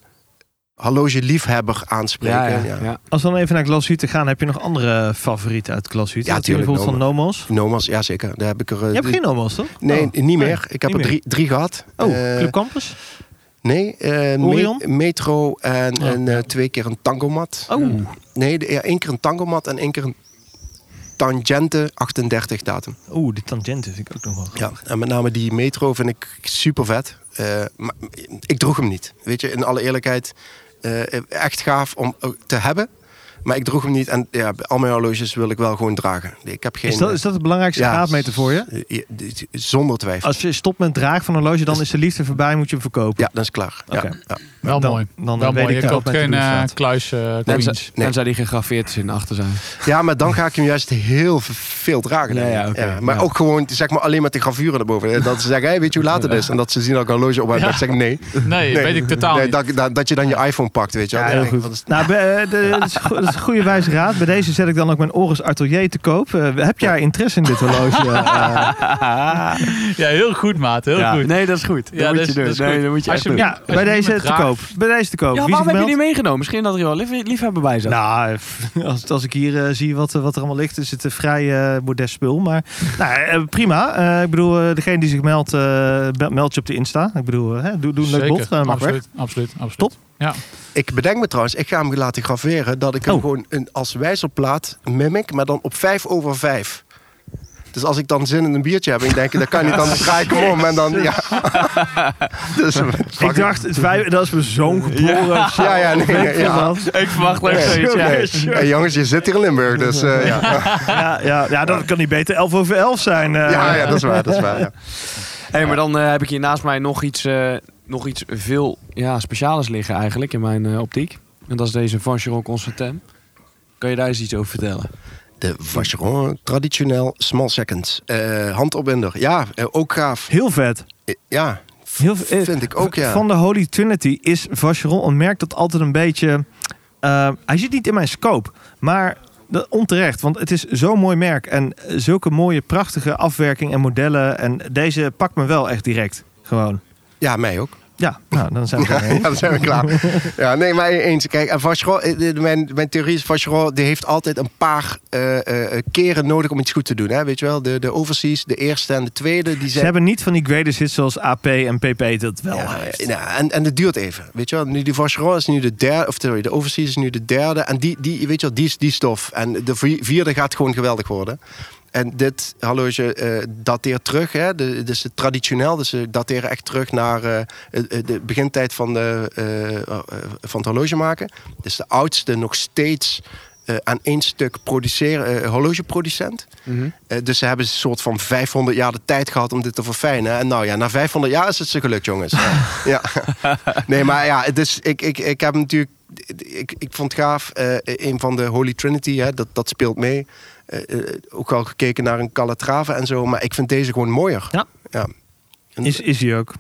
A: horlogeliefhebber aanspreken.
D: Ja, ja,
A: Ja.
D: ja.
C: Als we dan even naar Glashütte gaan, heb je nog andere favorieten uit Glashütte?
A: Ja,
C: Had je
A: tuurlijk,
C: Bijvoorbeeld van Nomos.
A: Nomas, ja zeker. Daar heb ik er. eh,
C: Je hebt
A: drie-
C: geen Nomos, toch?
A: Nee,
C: Oh.
A: niet meer. Ik heb
C: niet
A: er drie, drie gehad.
C: Oh,
A: Eh,
C: Club Campus?
A: nee, eh, me-
C: Orion?
A: Metro en,
C: Oh.
A: en eh, twee keer een tangomat.
C: Oh,
A: Nee, de- ja, één keer een tangomat en één keer een tangente 38 datum.
C: Oeh, die tangenten vind ik ook nog wel.
A: Ja, en met name die Metro vind ik super vet. Eh, maar ik droeg hem niet. Weet je, in alle eerlijkheid, eh, echt gaaf om eh, te hebben. Maar ik droeg hem niet en ja, al mijn horloges wil ik wel gewoon dragen. Ik heb geen,
C: Is dat, is dat het belangrijkste
A: eh, Ja.
C: graadmeter voor je?
A: eh, eh, zonder twijfel.
C: Als je stopt met het dragen van een horloge, dan is de liefde voorbij, moet je hem verkopen.
A: Dus Ja, dat is klaar. Ja,
C: Oké.
A: ja.
E: eh, wel
C: dan-
E: mooi.
C: dan
E: wel
C: weet
E: mooi.
C: ik
E: je
C: dat
E: koopt
C: met de
E: geen
C: bedoel
E: eh,
C: staat.
E: kluis eh,
D: Tenzij,
E: coins.
A: Nee.
D: tenzij die gegraveerd is in de achterzijde.
A: Ja, maar dan ga ik hem juist heel v- veel dragen. denk ik.
D: Ja, ja, oké.
A: maar
D: Ja.
A: ook gewoon zeg maar, alleen met de gravuren erboven. Eh, Dat ze zeggen, hey, weet je hoe laat het is? En dat ze zien dat ik een horloge op heb. Dat ik zeg, nee.
E: Nee,
A: Nee.
E: weet ik totaal
A: Nee,
E: niet.
A: dat, dat, dat je dan je iPhone pakt, weet je wel.
C: Ja, heel
A: Ja,
C: goed.
A: dat is-
C: Nou, be- eh, de- dat is, go- dat is is een goede wijze raad. Bij deze zet ik dan ook mijn Oris Atelier te koop. Eh, heb jij interesse in dit horloge? Eh,
E: Ja, heel goed, maat. Heel
D: Ja.
E: goed.
D: Nee, dat is goed. Dat
E: Ja,
D: moet
E: dat
D: je
E: is-
D: doen.
E: dat is
D: nee,
E: goed.
D: dat moet je
E: Als
D: echt
E: je
D: doen.
E: hem-
C: ja, bij
E: Als je
C: deze
E: iemand
C: te
E: raakt-
C: koop. Bij deze te koop.
D: Ja,
C: Wie is
D: waarom heb je
C: gebeld?
D: niet meegenomen? Misschien dat er wel lief, liefhebber bij zat.
C: Nou, als, als ik hier eh, zie wat, eh, wat er allemaal ligt, is het een vrij eh, modest spul. Maar nou, eh, prima. Eh, ik bedoel, eh, degene die zich meldt, eh, be- meld je op de Insta. Ik bedoel, eh, doe, doe een leuk
E: Zeker.
C: bod. eh, mag weg.
E: absoluut, absoluut, absoluut.
C: Top.
E: Ja.
A: Ik bedenk me trouwens, ik ga hem laten graveren dat ik hem
C: Oh.
A: gewoon een, als wijzerplaat mimic, maar dan op 5 over 5. Dus als ik dan zin in een biertje heb en ik denk, dat kan niet, dan draai ik hem om en dan, ja. dus,
C: Ik dacht, het vijf- dat is me zo'n geboren.
A: ja, ja, nee, nee,
C: Weet je
A: ja.
C: wat?
D: Ik verwacht leuk
A: Nee,
D: zoiets. Ja.
A: nee. Hey, jongens, je zit hier in Limburg, dus eh, ja.
C: ja, ja, ja, dat kan niet beter 11 over 11 zijn. eh.
A: Ja, ja, dat is waar, dat is waar, ja.
D: Hey, maar dan eh, heb ik hier naast mij nog iets, eh, nog iets veel ja, speciaals liggen eigenlijk in mijn eh, optiek. En dat is deze Vacheron Constantin. Kan je daar eens iets over vertellen?
A: De Vacheron, traditioneel, small seconds. Eh, handopwinder, ja, eh, ook gaaf.
C: Heel vet.
A: Eh, ja,
C: Heel, eh,
A: vind ik ook, ja.
C: Van de Holy Trinity is Vacheron een merk dat altijd een beetje... eh, hij zit niet in mijn scope, maar dat- onterecht. Want het is zo'n mooi merk en eh, zulke mooie, prachtige afwerking en modellen. En deze pakt me wel echt direct, gewoon.
A: Ja, mij ook.
C: Ja, nou, dan zijn we
A: Ja,
C: er.
A: dan zijn we klaar. Ja, nee, maar eens. Kijk, en Vacheron, eh, de- mijn, mijn theorie is... Vacheron die heeft altijd een paar eh, eh, eh, keren nodig om iets goed te doen. Hè? Weet je wel? De, de overseas, de eerste en de tweede... Die
C: Ze
A: zijn...
C: hebben niet van die greatest hits zoals AP en PP dat wel
A: Ja,
C: heeft.
A: ja, en, en het duurt even. Weet je wel? Nu, die Vacheron is nu de derde... Of sorry, de overseas is nu de derde. En die, die, weet je wel, die is die stof. En de vi- vierde gaat gewoon geweldig worden. En dit horloge eh, dateert terug. Hè? De, dus het traditioneel. Dus ze dateren echt terug naar eh, eh, de begintijd van, de, eh, eh, van het horloge maken. Dus de oudste nog steeds eh, aan één stuk produceer, eh, horlogeproducent.
C: Mhm.
A: Eh, dus ze hebben een soort van 500 jaar de tijd gehad om dit te verfijnen. En nou ja, na 500 jaar is het ze gelukt, jongens. ja. Nee, maar ja, dus ik, ik, ik heb hem natuurlijk. Ik, ik vond het gaaf, eh, een van de Holy Trinity, hè, dat, dat speelt mee. Eh, eh, ook al gekeken naar een Calatrava en zo, maar ik vind deze gewoon mooier.
C: Ja.
A: ja. En,
C: Is, is hij ook.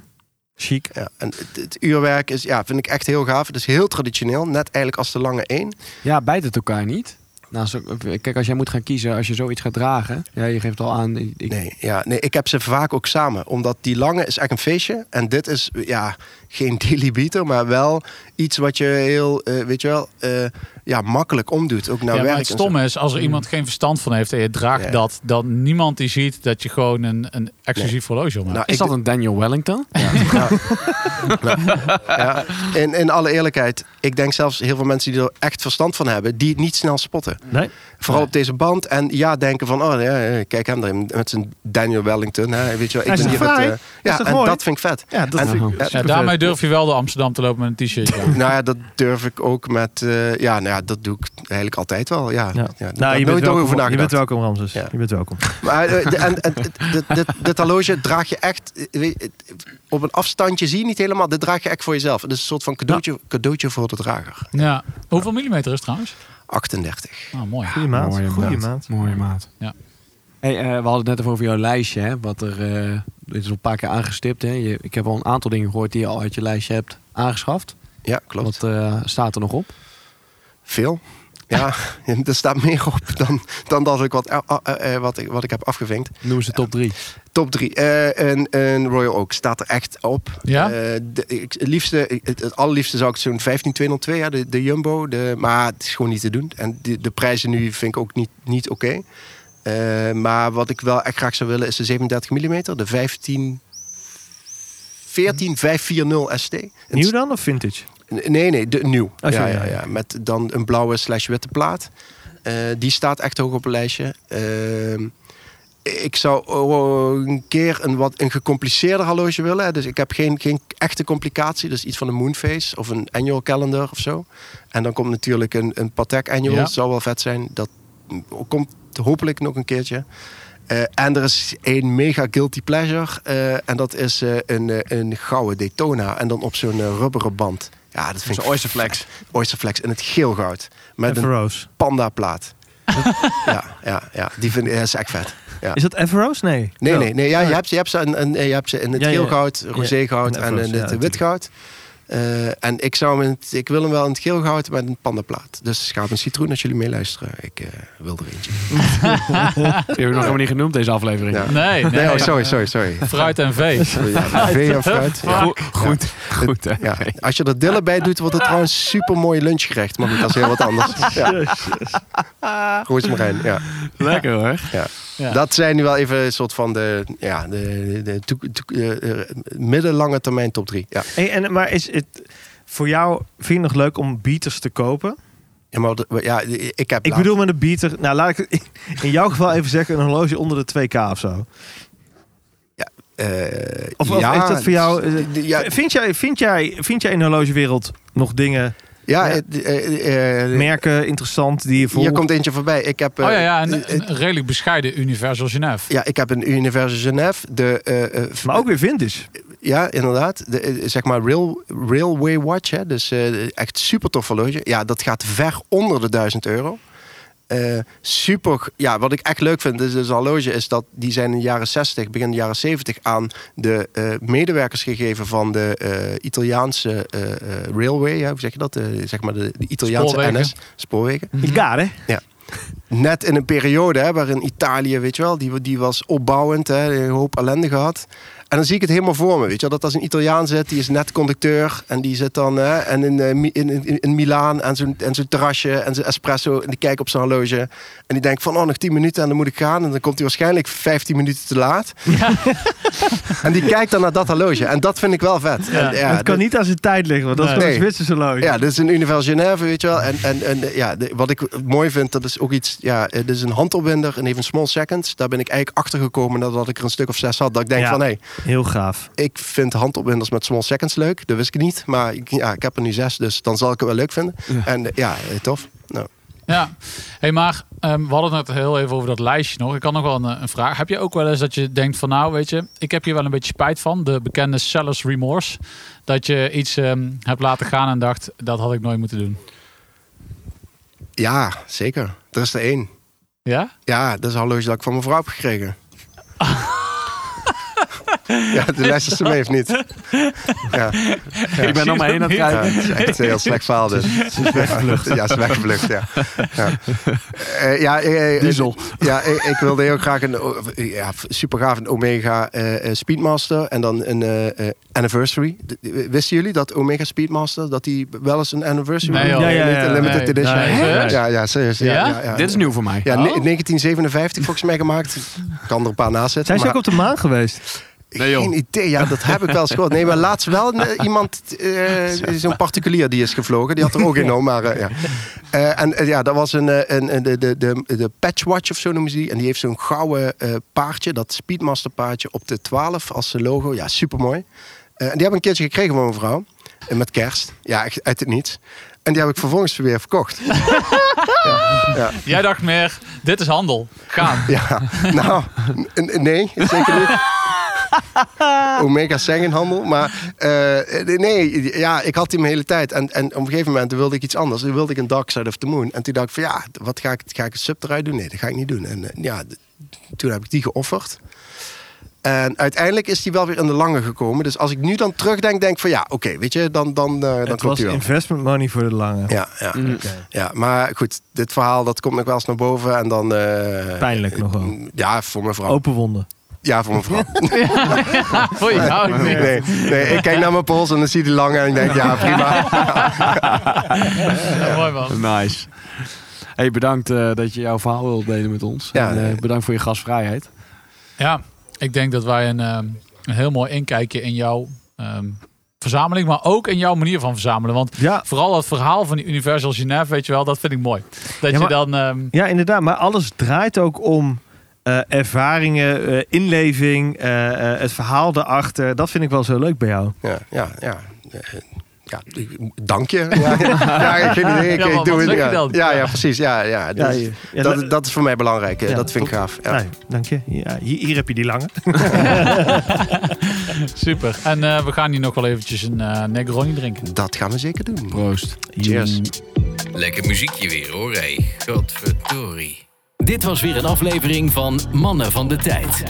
C: Chic.
A: ja, en het, het uurwerk is, ja, vind ik echt heel gaaf. Het is heel traditioneel, net eigenlijk als de lange één.
D: Ja, bijt het elkaar niet? Nou, zo- kijk, als jij moet gaan kiezen, als je zoiets gaat dragen. Ja, je geeft al aan. Ik,
A: Nee, ja, nee, ik heb ze vaak ook samen. Omdat die lange is echt een feestje. En dit is ja, geen daily beater, maar wel iets wat je heel, eh, weet je wel, eh, ja, makkelijk omdoet. Ook naar
E: ja, maar
A: Nou, werk.
E: het
A: en zo.
E: stomme is, als er iemand geen verstand van heeft en je draagt
A: Ja.
E: dat, dan niemand die ziet dat je gewoon een, een exclusief horloge om hebt.
A: Nou,
D: Is
A: ik-
D: dat een Daniel Wellington?
A: ja. in, in alle eerlijkheid, ik denk zelfs heel veel mensen die er echt verstand van hebben, die het niet snel spotten.
C: Nee?
A: Vooral op deze band. En ja, denken van, oh ja, ja, kijk hem daar met zijn Daniel Wellington. Hè. Weet je wel, ik
C: Hij is
A: ben hier
C: toch
A: het,
C: fraai?
A: eh, ja,
C: toch
A: en
C: mooi?
A: dat vind ik vet.
C: Ja, dat
A: En-
C: vind
A: ja,
C: ik
E: ja,
C: supervet.
E: daarmee durf je wel door Amsterdam te lopen met een t-shirt. aan.
A: Nou ja, dat durf ik ook met. eh, ja, nou ja, dat doe ik eigenlijk altijd wel. Ja, ja.
C: Ja.
A: daar
C: Nou,
A: heb
C: je
A: ik
C: bent,
A: nooit
C: welkom,
A: over
C: je bent
A: nagedacht.
C: welkom, Ramses.
A: Ja.
C: Je bent welkom.
A: Maar eh, de- en, en, dit, dit, dit horloge draag je echt. eh, weet je, Op een afstandje zie je niet helemaal. Dit draag je echt voor jezelf. Het is een soort van cadeautje, cadeautje voor de drager.
E: Ja. Hoeveel millimeter is het trouwens?
A: 38.
E: Nou, mooi.
C: Goeie maat.
D: Mooie
C: Goeie
D: maat.
C: maat.
D: Mooie maat.
E: Ja.
D: Hey, eh, we hadden het net even over jouw lijstje. Hè? Wat er, eh, dit is al een paar keer aangestipt. Hè? Je, ik heb al een aantal dingen gehoord die je al uit je lijstje hebt aangeschaft.
A: Ja, klopt.
D: Wat eh, staat er nog op?
A: Veel. Ja, er staat meer op dan, dan dat ik wat, eh, eh, eh, wat, ik, wat ik heb afgevinkt.
D: Noem ze top drie.
A: Top 3. een, een Royal Oak staat er echt op.
E: Ja?
A: Eh, de- ik- het, liefste, ik- het, het allerliefste zou ik zo'n 15202, ja, de, de Jumbo. De, maar het is gewoon niet te doen. En de, de prijzen nu vind ik ook niet, niet oké. Eh, maar wat ik wel echt graag zou willen is de 37 mm, de 15. 14540 ST. Een
C: Nieuw dan of vintage?
A: Nee, nee, de, nieuw. ja,
C: Oh, sorry,
A: ja,
C: ja,
A: ja. Met dan een blauwe slash witte plaat. Eh, die staat echt hoog op het lijstje. Ehm, ik zou oh, een keer een wat een gecompliceerder horloge willen. hè. Dus ik heb geen, geen echte complicatie. Dus iets van een Moonface of een annual calendar of zo. En dan komt natuurlijk een, een Patek annual.
E: Ja.
A: Zou wel vet zijn. Dat komt hopelijk nog een keertje. Eh, en er is één mega guilty pleasure. eh, en dat is eh, een, eh, een gouden Daytona. En dan op zo'n eh, rubberen band. Ja, dat vind ik...
D: Oysterflex.
A: Oysterflex in het geel goud. Met een
C: Everose.
A: pandaplaat. ja, ja, ja. Die vind ik ja, is echt vet. Ja.
C: Is dat Everose? Nee.
A: Nee,
C: Zo.
A: nee, nee. Ja, je, hebt, je, hebt ze in, in- je hebt ze in het
C: Ja, ja,
A: geel goud,
C: ja.
A: roze goud
C: Ja,
A: en in
C: Everose,
A: het
C: ja,
A: wit goud. Eh, en ik, zou hem in het- ik wil hem wel in het geel gehouden met een pandaplaat. Dus schaap en citroen als jullie meeluisteren. Ik eh, wil er eentje.
D: Die hebben we nog helemaal niet genoemd, deze aflevering.
A: Ja.
E: Nee, nee.
A: Nee, oh, sorry, sorry, sorry.
E: Fruit en vee.
A: Ja, vee en fruit. Ja.
D: Goed, goed, goed. hè.
A: Ja, als je er dillen bij doet, wordt het trouwens super mooi lunchgerecht. Maar goed, dat is heel wat anders. Ja. Roosmarijn, ja.
D: Lekker hoor.
A: ja.
E: Ja.
A: Dat zijn nu wel even een soort van de, ja, de, de toek- toek- eh, eh, middellange termijn top drie. Ja.
C: Hey, en, maar is het voor jou, vind je het nog leuk om beaters te kopen?
A: Ja, maar, de- ja, ik heb
C: Ik bedoel met een beater, nou laat ik het in- in jouw geval even zeggen, een horloge onder de 2K of zo.
A: eh,
C: Of, of
A: ja,
C: is dat voor jou... eh,
A: d- d- Ja,
C: Vind, jij, vind, jij, vind jij in de horlogewereld nog dingen,
A: ja, het- eh, eh,
C: merken interessant die je volgt?
A: hier komt eentje voorbij. Ik heb, eh,
E: Oh ja, ja een,
A: eh,
E: een redelijk bescheiden Universal Genève.
A: ja, ik heb een Universe Genève. De, eh, eh,
C: Maar ook weer vintage.
A: Ja, inderdaad. De, eh, zeg maar rail, Railway Watch. Hè? Dus eh, echt super tof horloge. Ja, dat gaat ver onder de 1000 euro. Eh, super. Ja, wat ik echt leuk vind is dus horloge is dat die zijn in de jaren 60, begin de jaren 70 aan de eh, medewerkers gegeven van de eh, Italiaanse eh, eh, railway. hè, hoe zeg je dat? Eh, zeg maar de, de Italiaanse
E: Spoorwegen.
A: NS spoorwegen
C: Ik ga, hè?
A: net in een periode hè, waarin Italië, weet je wel, die, die was opbouwend, hè, een hoop ellende gehad. En dan zie ik het helemaal voor me, weet je wel, dat als een Italiaan zit, die is net conducteur en die zit dan hè, en in, eh, Mi- in, in, in Milaan en zo'n en zo'n terrasje en zijn espresso en die kijkt op zijn horloge en die denkt van, oh, nog 10 minuten en dan moet ik gaan en dan komt hij waarschijnlijk 15 minuten te laat. en die kijkt dan naar dat horloge en dat vind ik wel vet. En, ja,
C: het kan niet aan zijn tijd liggen, want dat is
E: Nee.
C: toch een
A: Nee.
C: Zwitserse horloge.
A: ja, dit is een Universal Genève, weet je wel. En, en, en eh, ja, de- wat ik mooi vind, dat is ook iets... Ja, eh, dit is een handopwinder en even small seconds. Daar ben ik eigenlijk achtergekomen nadat ik er een stuk of zes had. Dat ik denk
C: Ja.
A: van, hé, hey,
C: Heel gaaf.
A: ik vind handopwinders met small seconds leuk. Dat wist ik niet. Maar ik, ja, ik heb er nu zes, dus dan zal ik het wel leuk vinden. En eh, ja, eh, tof. Nou.
E: Ja. hey, maar ehm, we hadden het heel even over dat lijstje nog. Ik had nog wel een, eh, een vraag. Heb je ook wel eens dat je denkt van nou, weet je, ik heb hier wel een beetje spijt van. De bekende seller's remorse. Dat je iets ehm, hebt laten gaan en dacht, dat had ik nooit moeten doen.
A: Ja, zeker. Er is er één.
E: Ja?
A: Ja, dat is een horloge dat ik van mijn vrouw heb gekregen. ja, de les is ermee of niet? Ja.
D: Ik ben om me heen aan het
A: Ja,
D: kijken.
A: het is Eh, echt een heel slecht verhaal dus. weggevlucht. Ja, ze is weggevlucht, ja. Ja, Eh, ja eh, eh,
D: Diesel.
A: Ja, ik, ik wilde heel graag een o- ja, super gaaf een Omega eh, eh, Speedmaster en dan een eh, eh, Anniversary. D- Wisten jullie dat Omega Speedmaster, dat die wel eens een Anniversary
E: Nee, joh.
A: Ja, ja,
C: Nee,
A: ja,
C: nee,
A: Limited
E: nee.
A: Edition.
E: Nee, serieus?
A: ja, ja, serieus. Ja,
E: Ja?
A: ja? Ja,
D: Dit is nieuw voor mij.
A: Ja,
E: Oh.
A: ne- 1957 volgens mij gemaakt. Kan er een paar naast zitten.
C: Zijn ze
A: maar-
C: ook op de maan geweest?
D: Nee, joh.
A: geen idee. Ja, dat heb ik wel eens gehoord. Nee, maar laatst wel een- iemand, eh, zo'n particulier die is gevlogen. Die had er ook in, hoor, maar eh, ja. Eh, en eh, ja, dat was een, eh, een, een- de, de, de, de Patchwatch of zo noemen ze die. En die heeft zo'n gouden eh, paardje, dat Speedmaster paardje op de 12 als logo. Ja, supermooi. Eh, en die heb ik een keertje gekregen van mijn vrouw. En met kerst. Ja, echt uit het niets. En die heb ik vervolgens weer verkocht.
E: Jij dacht meer, dit is handel. Gaan.
A: Ja, nou, n- n- nee, zeker niet. Omega Sengenhandel. Maar eh, nee, ja, ik had die mijn hele tijd. En, en op een gegeven moment wilde ik iets anders. Toen wilde ik een Dark Side of the Moon. En toen dacht ik van ja, wat ga ik, ga ik een sub eruit doen? Nee, dat ga ik niet doen. En eh, ja, d- toen heb ik die geofferd. En uiteindelijk is die wel weer in de lange gekomen. Dus als ik nu dan terugdenk, denk ik van ja, oké, weet je, dan, dan, eh, dan
C: Het
A: klopt
C: was
A: die wel.
C: investment money voor de lange.
A: Ja, ja. ja, maar goed, dit verhaal dat komt nog wel eens naar boven. En dan... eh,
C: Pijnlijk nog wel.
A: Ja, voor mijn vrouw.
C: Open wonden.
A: Ja, voor mijn vrouw.
E: Voor jou niet.
A: Nee, nee, ik kijk naar mijn pols en dan zie je die lang en ik denk, ja, prima.
E: Ja, mooi man.
D: Nice. Hey, bedankt eh, dat je jouw verhaal wilt delen met ons.
A: Ja,
D: en, eh,
A: nee.
D: bedankt voor je gastvrijheid.
E: Ja, ik denk dat wij een, ehm, een heel mooi inkijkje in jouw ehm, verzameling, maar ook in jouw manier van verzamelen. Want
C: Ja,
E: vooral dat verhaal van die Universal Genève, weet je wel, dat vind ik mooi. Dat
C: Ja, maar-
E: je dan... ehm,
C: ja, inderdaad. Maar alles draait ook om eh, ervaringen, eh, inleving, eh, eh, het verhaal erachter. Dat vind ik wel zo leuk bij jou.
A: Ja, ja, ja. Eh, Ja, ik- dank je. Ja, ja, ik geen idee. Ik,
E: Ja, maar
A: ik doe
E: wat
A: het.
E: zeg je
A: Ja,
E: dan?
A: ja, ja, precies. Ja, ja.
C: Ja,
A: Dus
C: je- ja, le-
A: dat, dat is voor mij belangrijk. eh,
C: Ja,
A: dat vind ik
C: top.
A: gaaf. Ja.
C: Nou, dank je. Ja, hier, hier heb je die lange.
E: Super. En eh, we gaan hier nog wel eventjes een eh Negroni drinken.
A: Dat gaan we zeker doen.
D: Proost.
A: Cheers.
B: Lekker muziekje weer hoor, hé.
F: Godverdorie.
B: Dit was weer een aflevering van Mannen van de Tijd.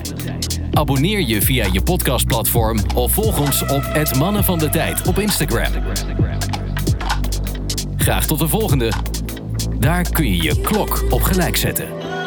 B: Abonneer je via je podcastplatform of volg ons op het Mannen van de Tijd op Instagram. Graag tot de volgende. Daar kun je je klok op gelijk zetten.